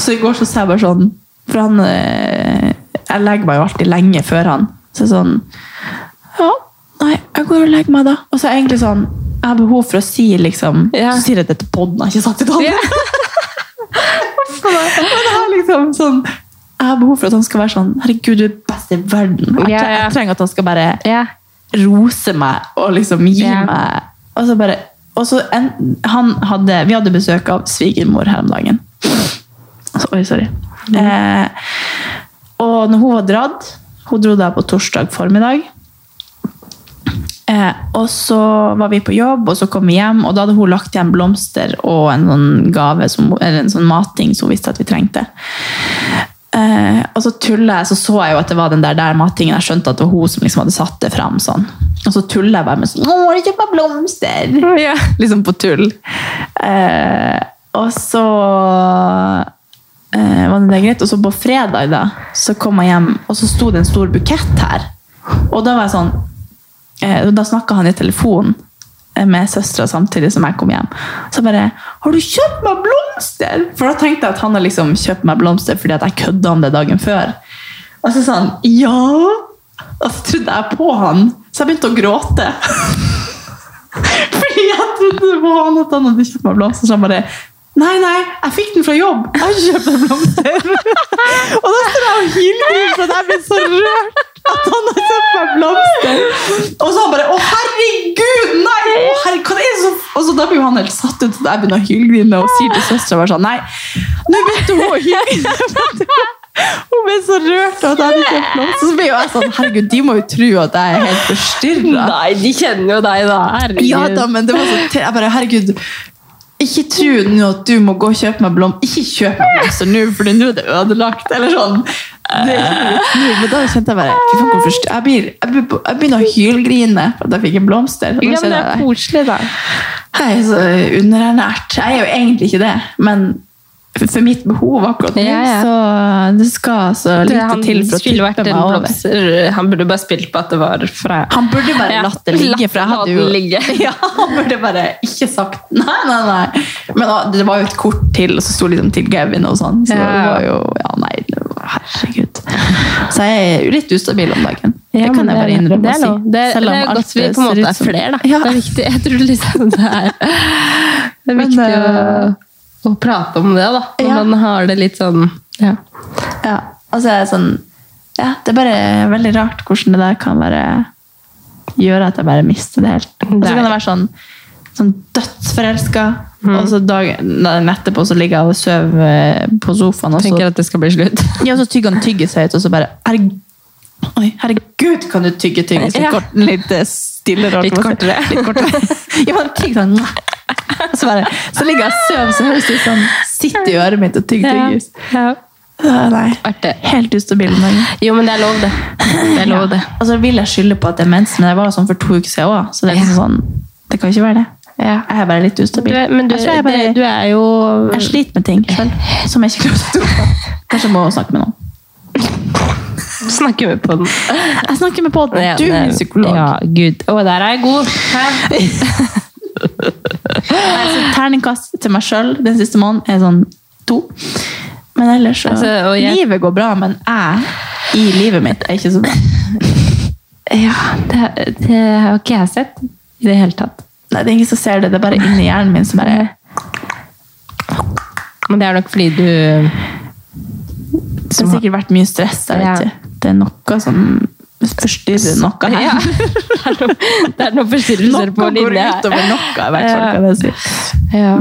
Speaker 5: Så i går så sa jeg bare sånn For han eh, Jeg legger meg jo alltid lenge før han. Så jeg sånn Ja, nei, jeg går og legger meg da. Og så er jeg egentlig sånn Jeg har behov for å si liksom Så sier jeg dette podden har ikke sagt i dag. [laughs] Og det er liksom sånn Jeg har behov for at han skal være sånn Herregud, du er best i verden. Jeg, tre- jeg trenger at han skal bare rose meg og liksom gi meg Og så bare og så en, han hadde, Vi hadde besøk av svigermor her om dagen. Altså, oi, sorry. Eh, og når hun var dratt Hun dro da på torsdag formiddag. Eh, og så var vi på jobb, og så kom vi hjem, og da hadde hun lagt igjen blomster og en sånn gave, som, eller en sånn mating som hun visste at vi trengte. Eh, og så tullet jeg, så så jeg jo at det var den der, der matingen, jeg skjønte at det var hun som liksom hadde satt det frem sånn. Og så tullet jeg bare med sånn, åh, det kjøper blomster! [laughs] Liksom på tull. Eh, og så eh, var det der greit, og så på fredag da, så kom jeg hjem, og så sto det en stor bukett her. Og da var jeg sånn, Eh, og Da snakka han i telefon eh, med søstera samtidig som jeg kom hjem. Så jeg bare 'Har du kjøpt meg blomster?' For da tenkte jeg at han har liksom kjøpt meg blomster fordi at jeg kødda om det dagen før. Og så sa han 'ja', og så trodde jeg på han. Så jeg begynte å gråte. fordi jeg trodde på han at han hadde kjøpt meg blomster. Så han bare Nei, nei, jeg fikk den fra jobb! Jeg har ikke kjøpt meg blomster! [laughs] og da står jeg og hylgriner for at jeg blir så rørt at han har kjøpt meg blomster! Og så han bare Å, herregud! Nei! Å, herregud, hva er det som Og så da blir jo han helt satt ut, og jeg begynner å hylgrine og sier til søstera bare sånn Nei, nå begynte hun å hylgrine! [laughs] Hun ble så rørt av at jeg hadde kjøpt blomster. Så ble jo jeg sånn Herregud, de må jo tro at jeg er helt
Speaker 1: Ah.
Speaker 5: forstyrra. Nei, de kjenner jo deg, da.
Speaker 1: Herregud.
Speaker 5: Ja da, men det var så te- Jeg bare Herregud. Ikke tro nå at du må gå og kjøpe meg blomster. Ikke kjøp meg blomster nå, for nå er det ødelagt. Eller sånn. Det er ikke noe snu, men da kjente jeg bare Fy faen, hvor forst- jeg, blir, jeg, blir, jeg begynner å hylgrine for at jeg fikk en blomster. Og
Speaker 1: Ja,
Speaker 5: da
Speaker 1: men det
Speaker 5: kjenner
Speaker 1: er
Speaker 5: jeg,
Speaker 1: koselig, da.
Speaker 5: jeg er så underernært. Jeg er jo egentlig ikke det, men for for mitt behov akkurat nå,
Speaker 1: Ja, ja.
Speaker 5: så det skal altså
Speaker 1: Det-
Speaker 5: lite
Speaker 1: han
Speaker 5: til for å
Speaker 1: skulle vært
Speaker 5: tippe
Speaker 1: en
Speaker 5: meg over.
Speaker 1: blomster- Han burde bare spilt på at det var fra
Speaker 5: Han burde bare
Speaker 1: Ja,
Speaker 5: latt det ligge, for jeg
Speaker 1: latt
Speaker 5: hadde jo
Speaker 1: den ligge. [laughs]
Speaker 5: ja, [laughs] Han burde bare ikke sagt nei, nei, nei. Men da, det var jo et kort til, og så sto liksom til Gavin og sånn. Så
Speaker 1: Ja.
Speaker 5: det var jo Ja, nei, det var, herregud. Så jeg er jo litt ustabil om dagen. det kan jeg bare innrømme
Speaker 1: det er
Speaker 5: å
Speaker 1: lov.
Speaker 5: si.
Speaker 1: Det, er-
Speaker 5: Selv om
Speaker 1: det er
Speaker 5: alt
Speaker 1: godt vi på en
Speaker 5: ser ut
Speaker 1: måte er
Speaker 5: som-
Speaker 1: flere, da. Det er viktig. Jeg tror liksom det er [laughs] eh, Det er
Speaker 5: Men,
Speaker 1: viktig å, å prate om det, da. Når
Speaker 5: Ja.
Speaker 1: man har det litt sånn Ja.
Speaker 5: Ja, altså jeg er sånn ja, Det er bare veldig rart hvordan det der kan være gjøre at jeg bare mister det helt. Og så kan jeg være sånn, sånn dødsforelska,
Speaker 1: Mm.
Speaker 5: og så dagen dagen etterpå så ligger jeg og sover eh, på sofaen. Og så,
Speaker 1: Tenker at det skal bli slutt.
Speaker 5: [laughs] ja, så tygger han tyggesøyt, og så bare herregud, Oi, herregud, kan du tygge tygges litt,
Speaker 1: Ja.
Speaker 5: kort, litt eh, stille? Rart,
Speaker 1: Litt kortere.
Speaker 5: [laughs] Litt kortere. ja, men tygg sånn. [laughs] Og Så, bare, så ligger jeg og sover, så høres det ut som sitter i øret mitt og tygger
Speaker 1: Ja,
Speaker 5: tygges. Ja, Nei. Helt ustabil om dagen.
Speaker 1: Jo, men det er lov, det. Det er lov, det.
Speaker 5: Ja. Og så Altså, vil jeg skylde på at det er mens, men jeg var jo sånn for to uker siden òg. Så det er liksom sånn, det kan ikke være det. Jeg er bare litt ustabil.
Speaker 1: Du er- men du-
Speaker 5: jeg, tror jeg, bare,
Speaker 1: det- du er jo-
Speaker 5: jeg sliter med ting selv, som jeg ikke klarer å stå
Speaker 1: [laughs]
Speaker 5: på. Kanskje jeg må snakke med noen.
Speaker 1: Snakker vi på den.
Speaker 5: Jeg snakker med podden. Du er min psykolog.
Speaker 1: Ja, gud. Å, der er jeg god. [laughs]
Speaker 5: Altså, terningkast til meg sjøl den siste måneden er sånn to. Men ellers så
Speaker 1: Altså, og jeg-
Speaker 5: Livet går bra, men jeg i livet mitt er ikke så bra.
Speaker 1: Ja, det, det har ikke jeg sett i det hele tatt.
Speaker 5: Nei, det er ingen som ser det. Det er bare inni hjernen min som bare
Speaker 1: Men det er nok fordi du
Speaker 5: Det har sikkert vært mye stress. Jeg vet
Speaker 1: Ja.
Speaker 5: ikke. Det er noe som forstyrrer
Speaker 1: [laughs]
Speaker 5: noe her.
Speaker 1: Ja. Det er noen forstyrrelser på
Speaker 5: Noe går
Speaker 1: linja.
Speaker 5: utover noe, i hvert fall. kan jeg si.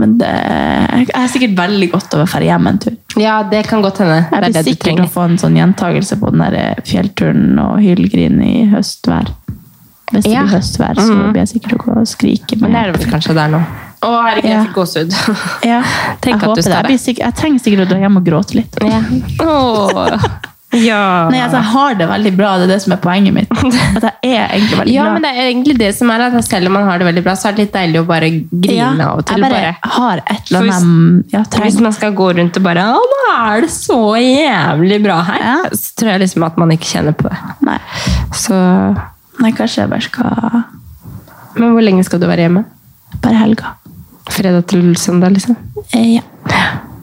Speaker 5: Men det, jeg er sikkert veldig godt over å dra hjem en tur.
Speaker 1: Ja, det kan godt hende.
Speaker 5: Jeg
Speaker 1: Det er
Speaker 5: blir
Speaker 1: det du
Speaker 5: sikkert å
Speaker 1: trenger.
Speaker 5: eh, få en sånn gjentagelse på den der fjellturen og hylgrin i høstvær. hvis det
Speaker 1: Ja.
Speaker 5: blir høstvær, så
Speaker 1: Mm.
Speaker 5: blir jeg sikkert å gå og skrike.
Speaker 1: Men det er det vel kanskje der nå. Å, herregud, jeg fikk gåsehud.
Speaker 5: jeg,
Speaker 1: Tenk at du
Speaker 5: håper det. Jeg,
Speaker 1: står
Speaker 5: blir
Speaker 1: der.
Speaker 5: sikk- jeg trenger sikkert å dra hjem og gråte litt.
Speaker 1: Åh. Ja.
Speaker 5: Nei, altså, jeg har det veldig bra, det er det som er poenget mitt. At jeg er
Speaker 1: [laughs]
Speaker 5: egentlig veldig
Speaker 1: Ja,
Speaker 5: glad.
Speaker 1: men det er egentlig det som er at selv om man har det veldig bra, så er det litt deilig å bare grine
Speaker 5: Ja,
Speaker 1: av og til.
Speaker 5: jeg bare har et eller annet
Speaker 1: hvis, hvis man skal gå rundt og bare Å, nå er det så jævlig bra her! Så tror jeg liksom at man ikke kjenner på det.
Speaker 5: Nei.
Speaker 1: Så
Speaker 5: Nei, kanskje jeg bare skal
Speaker 1: Men hvor lenge skal du være hjemme?
Speaker 5: Bare helga.
Speaker 1: Fredag til søndag, liksom?
Speaker 5: Eh, ja.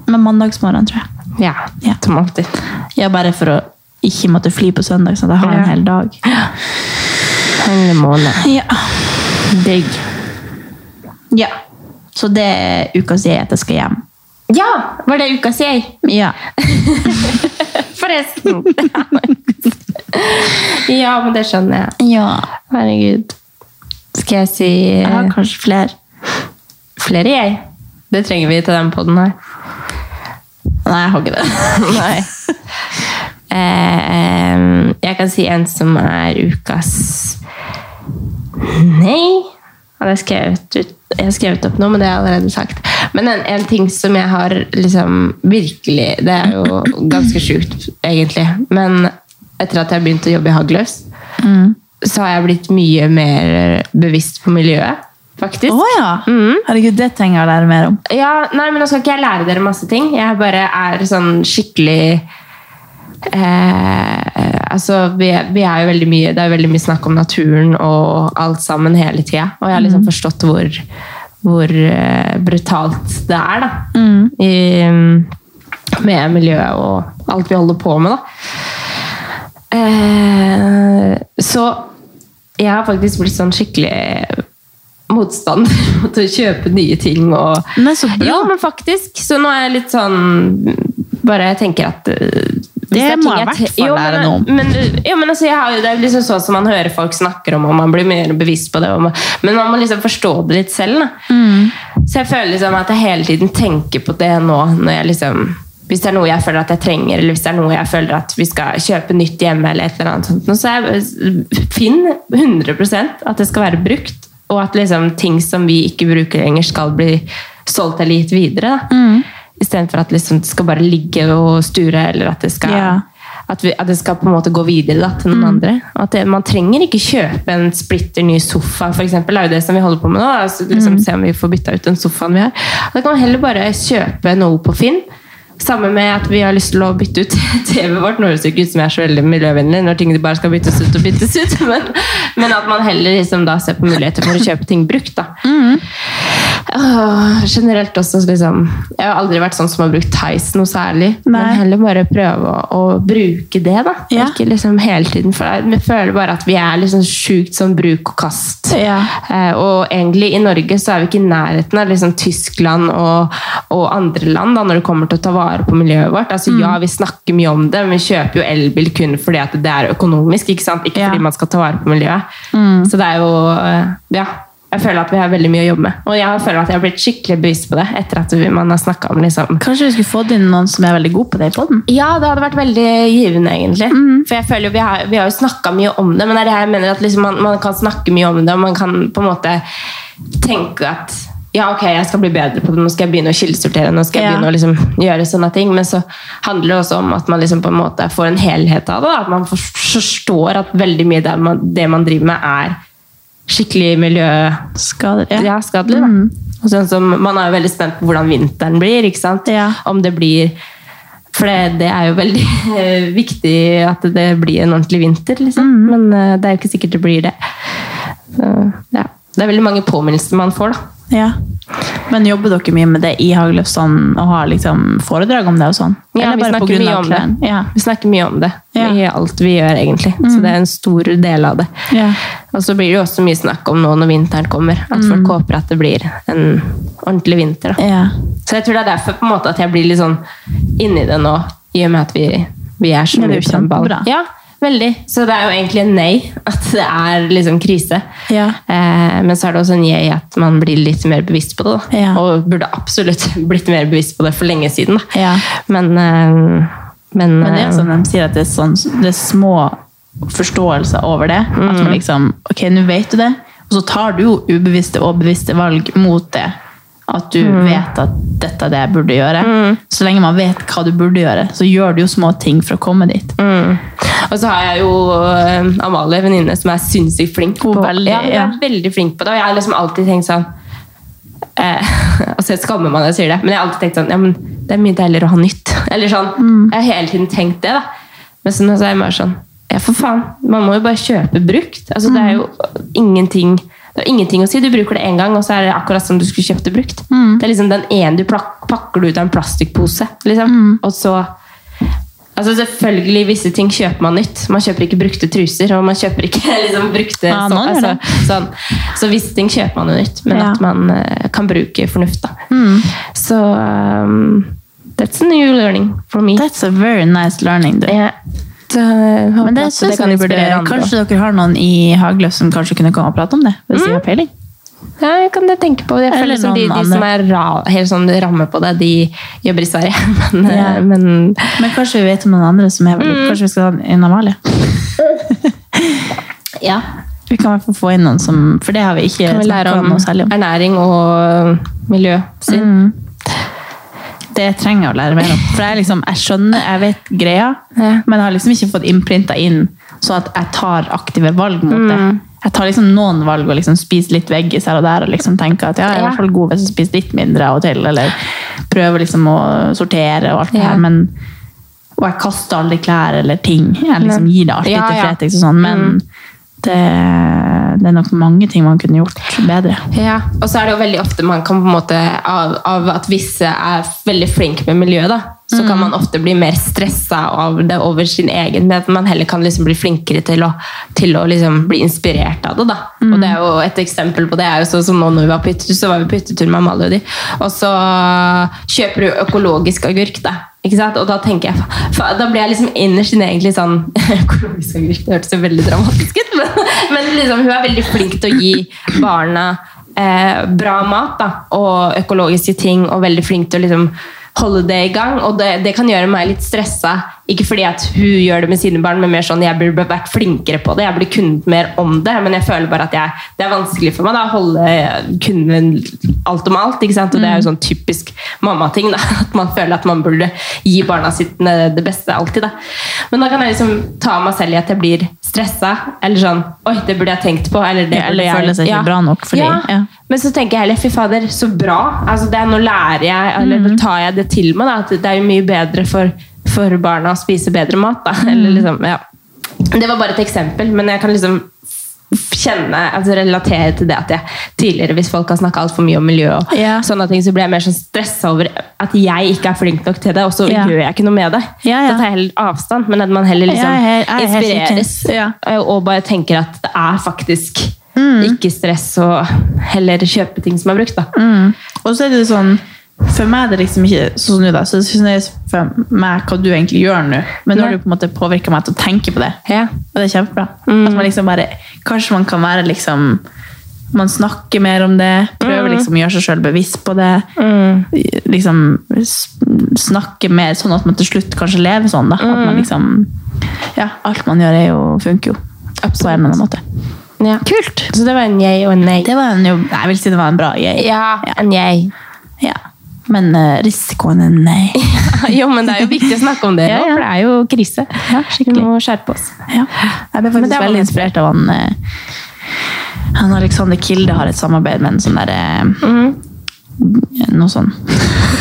Speaker 5: Men mandagsmorgen, tror jeg.
Speaker 1: Ja. Som alltid.
Speaker 5: Ja, bare for å ikke måtte fly på søndag, sånn at jeg har en hel dag.
Speaker 1: Hele måned.
Speaker 5: Ja. Digg. Ja. Så det er ukas jeg at jeg skal hjem.
Speaker 1: Ja! Var det ukas jeg?
Speaker 5: Ja.
Speaker 1: Forresten! [laughs] ja, men det skjønner jeg. Herregud. Skal jeg si Jeg har
Speaker 5: kanskje flere.
Speaker 1: Flere jeg. Det trenger vi til den podden her.
Speaker 5: Nei, jeg har ikke
Speaker 1: [laughs]
Speaker 5: det.
Speaker 1: Nei. Eh, jeg kan si en som er ukas Nei. Hadde jeg skrevet, ut, jeg har skrevet opp noe, men det har jeg allerede sagt. Men en, en ting som jeg har liksom virkelig Det er jo ganske sjukt, egentlig. Men etter at jeg begynte å jobbe i Hagløs,
Speaker 5: Mm.
Speaker 1: så har jeg blitt mye mer bevisst på miljøet. Faktisk.
Speaker 5: Å ja!
Speaker 1: Mm.
Speaker 5: Herregud, det trenger jeg å lære mer om.
Speaker 1: Ja, nei, men nå skal ikke jeg lære dere masse ting. Jeg bare er sånn skikkelig eh, Altså, vi, vi er jo veldig mye Det er jo veldig mye snakk om naturen og alt sammen hele tida. Og jeg har liksom forstått hvor, hvor eh, brutalt det er, da. I, med miljøet og alt vi holder på med, da. Eh, så jeg har faktisk blitt sånn skikkelig motstander [laughs] mot å kjøpe nye ting. Og,
Speaker 5: men så bra.
Speaker 1: Jo, men faktisk. Så nå er jeg litt sånn Bare jeg tenker at øh, hvis
Speaker 5: Det
Speaker 1: er
Speaker 5: må
Speaker 1: ting
Speaker 5: jeg i hvert
Speaker 1: te-
Speaker 5: fall
Speaker 1: Jo,
Speaker 5: lære
Speaker 1: men-
Speaker 5: noe om.
Speaker 1: Men, øh, jo, men altså, jeg har jo, det er jo liksom sånn som man hører folk snakker om, og man blir mer bevisst på det. Og man, men man må liksom forstå det litt selv. Da.
Speaker 5: Mm.
Speaker 1: Så jeg føler liksom at jeg hele tiden tenker på det nå, når jeg liksom hvis det er noe jeg føler at jeg trenger, eller hvis det er noe jeg føler at vi skal kjøpe nytt hjemme, eller et eller annet sånt, nå, så jeg finn 100 at det skal være brukt, og at liksom ting som vi ikke bruker lenger, skal bli solgt eller gitt videre. Da. Istedenfor at liksom det skal bare ligge og sture, eller at det skal at, vi, at det skal på en måte gå videre da, til noen andre. Og At det, man trenger ikke kjøpe en splitter ny sofa, for eksempel. Det er jo det som vi holder på med nå. da. Altså, liksom, Se om vi får bytta ut den sofaen vi har. Da kan man heller bare kjøpe noe på Finn. Samme med at vi har lyst til å bytte ut [laughs] TV-et vårt. Nå høres det ikke ut som jeg er så veldig miljøvennlig når ting bare skal byttes ut og byttes ut, [laughs] men, men at man heller liksom da ser på muligheter for å kjøpe ting brukt, da. Åh, generelt også liksom Jeg har aldri vært sånn som har brukt Tyson noe særlig. Men heller bare prøve å, å bruke det, da. Ikke liksom hele tiden. For jeg- jeg føler bare at vi er liksom sjukt sånn bruk og kast. Eh, og egentlig i Norge så er vi ikke i nærheten av liksom Tyskland og, og andre land da, når det kommer til å ta vare på miljøet vårt. Altså ja, vi snakker mye om det, men vi kjøper jo elbil kun fordi at det er økonomisk, ikke sant? Ikke fordi man skal ta vare på miljøet. Så det er jo eh, Ja jeg føler at vi har veldig mye å jobbe med. Og jeg føler at jeg har blitt skikkelig bevisst på det etter at vi- man har snakket om liksom
Speaker 5: Kanskje vi skulle fått inn noen som er veldig god på det i podden?
Speaker 1: ja, det hadde vært veldig givende, egentlig. For jeg føler jo, Vi har, vi har jo snakka mye om det, men det er det jeg mener at liksom man, man kan snakke mye om det, og man kan på en måte tenke at ja, ok, jeg skal bli bedre på det, nå skal jeg begynne å kildesortere, nå skal jeg
Speaker 5: Ja.
Speaker 1: begynne å liksom gjøre sånne ting. Men så handler det også om at man liksom på en måte får en helhet av det. da. At man for- forstår at veldig mye av man, det man driver med, er skikkelig miljøskadelig. Ja. skadelig, da. Og sånn som, man er jo veldig spent på hvordan vinteren blir. ikke sant? Om det blir for det, det er jo veldig [laughs] eh, viktig at det blir en ordentlig vinter, liksom. Men eh, det er jo ikke sikkert det blir det. Så, ja. Det er veldig mange påminnelser man får, da.
Speaker 5: Ja. Men jobber dere mye med det i Hagløf sånn, og har liksom foredrag om det og sånn?
Speaker 1: Ja, vi snakker mye om det.
Speaker 5: klærne? Ja.
Speaker 1: Vi snakker mye om det i alt vi gjør, egentlig. Så det er en stor del av det. Og så blir det jo også mye snakk om nå når vinteren kommer, at folk håper at det blir en ordentlig vinter. Da. Så jeg tror det er derfor på en måte at jeg blir litt sånn inni det nå, i og med at vi, vi er så
Speaker 5: Men
Speaker 1: mye
Speaker 5: det er jo
Speaker 1: på den ballen.
Speaker 5: kjempebra.
Speaker 1: Ja, veldig. Så det er jo egentlig en nei, at det er liksom krise.
Speaker 5: Ja.
Speaker 1: Eh, men så er det også en jeg at man blir litt mer bevisst på det. Da. Og burde absolutt [laughs] blitt mer bevisst på det for lenge siden. Da. Men, eh, men,
Speaker 5: Men det er
Speaker 1: eh,
Speaker 5: jo som de sier, at det er, sånn, det er små forståelse over det. At man liksom Ok, nå vet du det. Og så tar du jo ubevisste og bevisste valg mot det. At du
Speaker 1: Mm.
Speaker 5: vet at dette er det jeg burde gjøre. Så lenge man vet hva du burde gjøre, så gjør du jo små ting for å komme dit.
Speaker 1: Og så har jeg jo eh, Amalie, venninne, som er sinnssykt flink. på,
Speaker 5: veldig,
Speaker 1: ja, hun er
Speaker 5: ja.
Speaker 1: veldig flink på det. Og jeg har liksom alltid tenkt sånn eh, [laughs] Altså, jeg skammer meg når jeg sier det, men jeg har alltid tenkt sånn Ja, men det er mye deiligere å ha nytt. [laughs] Eller sånn.
Speaker 5: Mm.
Speaker 1: Jeg har hele tiden tenkt det, da. Men så nå så er jeg bare sånn Ja, for faen. Man må jo bare kjøpe brukt. Altså, det er jo ingenting det er jo ingenting å si. Du bruker det én gang, og så er det akkurat som du skulle kjøpt det brukt.
Speaker 5: Mm.
Speaker 1: Det er liksom den ene du plak- pakker du ut av en plastikkpose, liksom.
Speaker 5: Mm.
Speaker 1: Og så Altså selvfølgelig, visse ting kjøper man nytt. Man kjøper ikke brukte truser, og man kjøper ikke [laughs] liksom, brukte så,
Speaker 5: Ja, Ah, noen gjør
Speaker 1: altså, sånn. Så visse ting kjøper man jo nytt, men
Speaker 5: Ja. Mm.
Speaker 1: at man eh, kan bruke fornuft, da. Så um, that's a new learning for me. eh,
Speaker 5: That's a very nice learning, du. Men det synes jeg vi burde gjøre. Kanskje dere har noen i Hagløf som kanskje kunne komme og prate om det? Hvis de har peiling.
Speaker 1: Ja, jeg kan det tenke på. Jeg føler
Speaker 5: Eller
Speaker 1: liksom de,
Speaker 5: noen
Speaker 1: de som er ra, helt sånn ramme på det, de jobber i Sverige. [laughs] Men, eh, men
Speaker 5: Men kanskje vi vet om noen andre som er veldig Kanskje vi skal ha inn Amalie?
Speaker 1: ja.
Speaker 5: Vi kan i hvert fall få inn noen som For det har vi ikke
Speaker 1: Kan vi lære
Speaker 5: snakket
Speaker 1: om
Speaker 5: noe særlig om. Mm.
Speaker 1: ernæring og miljø sin.
Speaker 5: Det trenger jeg å lære mer om. For jeg, liksom, jeg skjønner, jeg vet greia, men jeg har liksom ikke fått innprinta inn sånn at jeg tar aktive valg mot det.
Speaker 1: Mm.
Speaker 5: Jeg tar liksom noen valg og liksom spiser litt veggis her og der og liksom tenker at ja, jeg er i
Speaker 1: Ja.
Speaker 5: hvert fall god hvis jeg spiser litt mindre av og til, eller prøver liksom å sortere og alt det
Speaker 1: Ja.
Speaker 5: her, men og jeg kaster aldri klær eller ting. Jeg liksom
Speaker 1: Nei.
Speaker 5: gir det alltid
Speaker 1: Ja,
Speaker 5: til
Speaker 1: ja. Mm.
Speaker 5: Fretex og sånn, men det, det er nok mange ting man kunne gjort bedre.
Speaker 1: Ja, og så er det jo veldig ofte man kan på en måte av, av at visse er veldig flinke med miljøet, da, så kan man ofte bli mer stressa av det over sin egen, men at man heller kan liksom bli flinkere til å, til å liksom bli inspirert av det. da. Og det er jo Et eksempel på det er jo sånn som nå når vi var på hyttetur, så var vi på hyttetur med Amalie og de, og så kjøper du økologisk agurk, da. Ikke sant? Og da tenker jeg, fa- fa- da blir jeg liksom innerst inne egentlig sånn [laughs] Økologisk agurk, det hørtes jo veldig dramatisk ut, men, men liksom, hun er veldig flink til å gi barna eh, bra mat da, og økologiske ting, og veldig flink til å liksom, holde det i gang. Og det, det kan gjøre meg litt stressa. Ikke fordi at hun gjør det med sine barn, men mer sånn jeg burde vært flinkere på det. Jeg burde kunnet mer om det, men jeg føler bare at jeg, det er vanskelig for meg da, å holde kunden alt om alt. ikke sant? Og det
Speaker 5: Mm.
Speaker 1: er jo sånn typisk mammating. da, [laughs] At man føler at man burde gi barna sitt eh, det beste alltid. da. Men da kan jeg liksom ta meg selv i at jeg blir stressa. Eller sånn Oi, det burde jeg tenkt på. Eller det
Speaker 5: Ja, eller
Speaker 1: burde jeg
Speaker 5: føler seg ikke bra nok fordi-
Speaker 1: ja.
Speaker 5: ja.
Speaker 1: Men så tenker jeg heller, fy fader, så bra. Altså, det er, nå lærer jeg, eller
Speaker 5: Mm.
Speaker 1: nå tar jeg det til meg, da, at det er jo mye bedre for, for barna å spise bedre mat. Da. [laughs]
Speaker 5: Mm.
Speaker 1: Eller, liksom, ja. Det var bare et eksempel, men jeg kan liksom f- kjenne, altså relatere til det at jeg tidligere, hvis folk har snakka altfor mye om miljø, og sånne ting, så blir jeg mer sånn stressa over at jeg ikke er flink nok til det, og så
Speaker 5: Ja.
Speaker 1: gjør jeg ikke noe med det.
Speaker 5: Ja, ja.
Speaker 1: Da tar jeg heller avstand, men at man heller liksom
Speaker 5: Jeg er helt- jeg er helt
Speaker 1: inspireres
Speaker 5: enig. Ja.
Speaker 1: og bare tenker at det er faktisk
Speaker 5: Mm.
Speaker 1: ikke stress å heller kjøpe ting som er brukt. Da.
Speaker 5: Og så er det jo sånn For meg er det liksom ikke sånn nå da, så det er for meg hva du egentlig gjør nå. Men nå har
Speaker 1: Ja.
Speaker 5: du på en måte påvirka meg til å tenke på det. Og det er kjempebra.
Speaker 1: Mm.
Speaker 5: At man liksom bare, kanskje man kan være liksom Man snakker mer om det. Prøver
Speaker 1: Mm.
Speaker 5: liksom å gjøre seg sjøl bevisst på det. Liksom s- snakke mer sånn at man til slutt kanskje lever sånn, da. At
Speaker 1: Mm.
Speaker 5: man liksom Ja, alt man gjør, er jo, funker jo. På en eller annen måte.
Speaker 1: Kult! Så det var en yay og en nei.
Speaker 5: Det var en jo, jeg vil si det var en bra yay.
Speaker 1: Ja, en yay.
Speaker 5: [laughs] Ja. Men eh, risikoen er nei.
Speaker 1: jo, men det er jo viktig å snakke om det
Speaker 5: Ja,
Speaker 1: nå,
Speaker 5: ja.
Speaker 1: for det er jo krise. Vi må skjerpe oss.
Speaker 5: Jeg ble
Speaker 1: Men det
Speaker 5: faktisk
Speaker 1: var
Speaker 5: veldig inspirert av han, eh, han Alexander Kilde har et samarbeid med en sånn derre Noe sånn.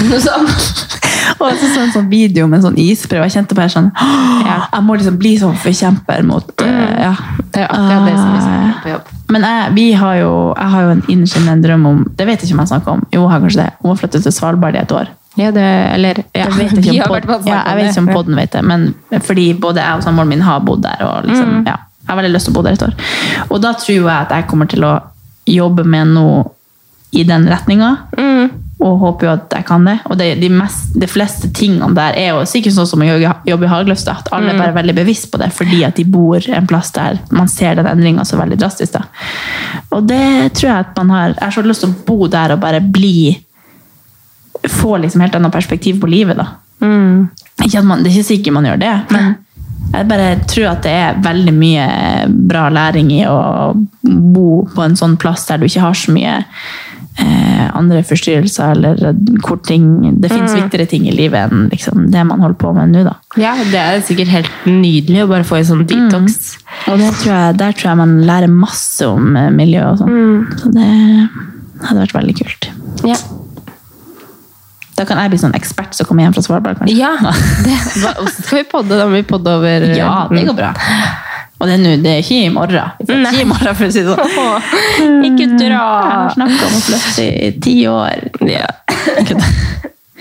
Speaker 1: Noe sånt.
Speaker 5: [laughs] Og jeg så så en sånn video med en sånn isbre, og jeg kjente bare sånn «Åh, Jeg må liksom bli sånn forkjemper mot eh, Ja.
Speaker 1: Det er akkurat det som vi snakker om på jobb.
Speaker 5: Men jeg, vi har jo, jeg har jo en innerkjennende drøm om Det vet jeg ikke om jeg snakker om. Jo, jeg har kanskje det. Hun har flyttet til Svalbard i et år.
Speaker 1: Ja, det, eller, ja.
Speaker 5: Jeg vet
Speaker 1: [laughs] Vi
Speaker 5: ikke om,
Speaker 1: har
Speaker 5: pod-
Speaker 1: vært på å snakke
Speaker 5: ja, jeg
Speaker 1: om
Speaker 5: vet
Speaker 1: det.
Speaker 5: ikke om podden vet det, men fordi både jeg og samboeren min har bodd der. Og liksom, ja, jeg har veldig lyst til å bo der et år. Og da tror jeg at jeg kommer til å jobbe med noe i den retninga. Og håper jo at jeg kan det. Og det, de, mest, de fleste tingene der er jo sikkert sånn som å jogge- jobbe i Hagløfstad. At alle bare er veldig bevisst på det fordi at de bor en plass der man ser den endringa så veldig drastisk. da. Og det tror jeg at man har Jeg har så lyst til å bo der og bare bli Få liksom helt annet perspektiv på livet, da. Ikke at man, det er ikke sikkert man gjør det, men Jeg bare tror at det er veldig mye eh, bra læring i å bo på en sånn plass der du ikke har så mye eh, andre forstyrrelser, eller hvor ting Det fins
Speaker 1: Mm.
Speaker 5: viktigere ting i livet enn liksom, det man holder på med nå, da.
Speaker 1: Ja, det er sikkert helt nydelig å bare få en sånn detox.
Speaker 5: Og der tror, jeg, der tror jeg man lærer masse om eh, miljø og sånn. Så det hadde vært veldig kult.
Speaker 1: Ja.
Speaker 5: Da kan jeg bli sånn ekspert som kommer hjem fra Svalbard, kanskje.
Speaker 1: Ja, det, [laughs] hva, hvordan skal vi podde? Da må vi podde over eh,
Speaker 5: Ja, det går bra. Og det er, nå- det er ikke i morgen. Vi får Ikke i morgen, for å si det
Speaker 1: [laughs]
Speaker 5: sånn.
Speaker 1: Ikke dra!
Speaker 5: Jeg har snakket om å flytte i ti år. Kødda.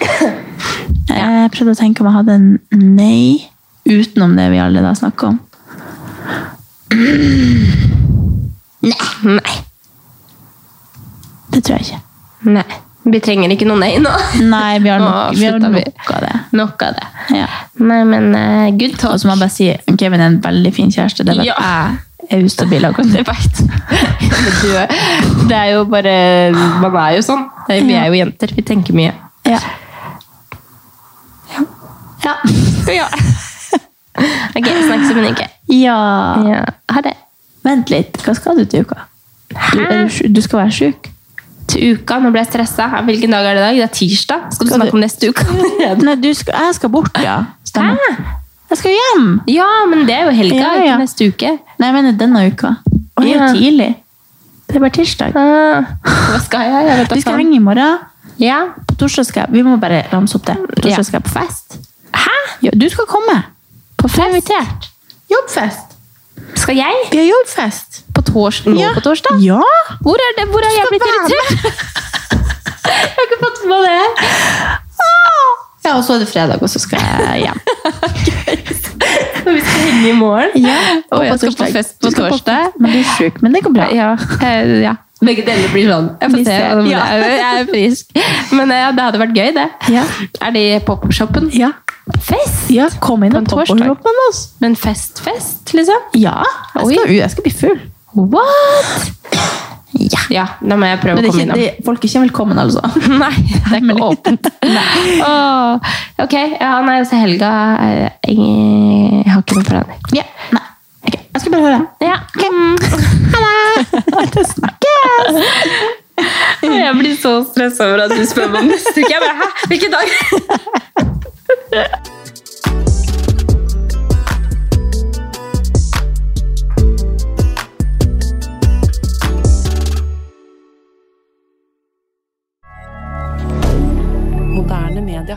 Speaker 5: Eh, Jeg prøvde å tenke om jeg hadde en nei utenom det vi allerede har snakket om. Nei. Det tror jeg ikke.
Speaker 1: Nei. Vi trenger ikke noe nei nå.
Speaker 5: Nei, vi har,
Speaker 1: Nå
Speaker 5: nok, vi har
Speaker 1: avslutta vi.
Speaker 5: nok av det.
Speaker 1: Nok av det.
Speaker 5: Ja.
Speaker 1: Nei, men eh, good talk.
Speaker 5: Og så må jeg bare si Kevin er en veldig fin kjæreste. Det er bare
Speaker 1: Ja.
Speaker 5: jeg er ustabil
Speaker 1: [laughs]
Speaker 5: akkurat nå.
Speaker 1: Du, det er jo bare Man er jo sånn. Det er- Vi er jo jenter. Vi tenker mye.
Speaker 5: Ja.
Speaker 1: Ja. [laughs] ok, snakkes om en uke.
Speaker 5: Ja.
Speaker 1: Ja. Ha det.
Speaker 5: Vent litt, hva skal du til uka? Du, er du, sj- du skal være sjuk.
Speaker 1: Til uka. Nå ble jeg stressa. Hvilken dag er det i dag? Det er tirsdag. Skal du snakke om neste
Speaker 5: [laughs]
Speaker 1: uke?
Speaker 5: Nei, du skal, jeg skal bort, ja. Stemmer. Jeg skal hjem!
Speaker 1: ja, men det er jo helga.
Speaker 5: Ja,
Speaker 1: Ikke
Speaker 5: ja.
Speaker 1: neste uke.
Speaker 5: Nei, jeg mener denne uka. Og det er
Speaker 1: Ja.
Speaker 5: jo tidlig. Det er bare tirsdag.
Speaker 1: Hva skal jeg? jeg vet da
Speaker 5: Ah. Vi skal
Speaker 1: faen.
Speaker 5: henge i morgen.
Speaker 1: Ja.
Speaker 5: På torsdag skal jeg Vi må bare ramse opp det. På
Speaker 1: Ja.
Speaker 5: torsdag skal jeg på fest. Hæ? Ja, du skal komme. På fest? Invitert. Jobbfest.
Speaker 1: Skal jeg?
Speaker 5: Vi har jobbfest.
Speaker 1: På tors nå
Speaker 5: Ja.
Speaker 1: på torsdag?
Speaker 5: Ja!
Speaker 1: Hvor er, det, hvor er jeg blitt irritert? [laughs] jeg har ikke fått med det.
Speaker 5: Ja, og så er det fredag, og så skal jeg
Speaker 1: [laughs]
Speaker 5: hjem.
Speaker 1: Når vi skal henge i morgen. Og
Speaker 5: ja,
Speaker 1: jeg skal på
Speaker 5: torsdag.
Speaker 1: fest
Speaker 5: Du
Speaker 1: på
Speaker 5: skal på
Speaker 1: torsdag.
Speaker 5: Men du er sjuk, men det går bra.
Speaker 1: Ja, eh, ja. Begge deler blir sånn. Jeg får
Speaker 5: Vi
Speaker 1: se.
Speaker 5: ser.
Speaker 1: om det-
Speaker 5: Ja.
Speaker 1: Jeg er frisk. Men eh, ja, det hadde vært gøy, det.
Speaker 5: Ja.
Speaker 1: Er det i pop-up-shoppen?
Speaker 5: Ja.
Speaker 1: Fest?
Speaker 5: Ja, kom inn
Speaker 1: På en
Speaker 5: og pop
Speaker 1: torsdag.
Speaker 5: opp med oss.
Speaker 1: Men fest-fest, liksom?
Speaker 5: Ja, jeg skal,
Speaker 1: Oi.
Speaker 5: jeg skal bli full.
Speaker 1: What?
Speaker 5: Ja.
Speaker 1: Ja, da må jeg prøve
Speaker 5: Men
Speaker 1: å
Speaker 5: det
Speaker 1: komme
Speaker 5: er ikke,
Speaker 1: innom.
Speaker 5: det, folk er ikke velkommen, altså.
Speaker 1: [laughs] Nei, det er ikke [laughs] åpent. Åh, ok, ja, nei, så helga eh, Jeg har ikke noe planer.
Speaker 5: Ja, nei. Ok, Jeg skal bare høre.
Speaker 1: Ja. [laughs] Ha det! snakkes! Jeg blir så stressa over at du spør meg om neste uke. Jeg bare, hæ? Hvilken dag?
Speaker 7: Moderne media.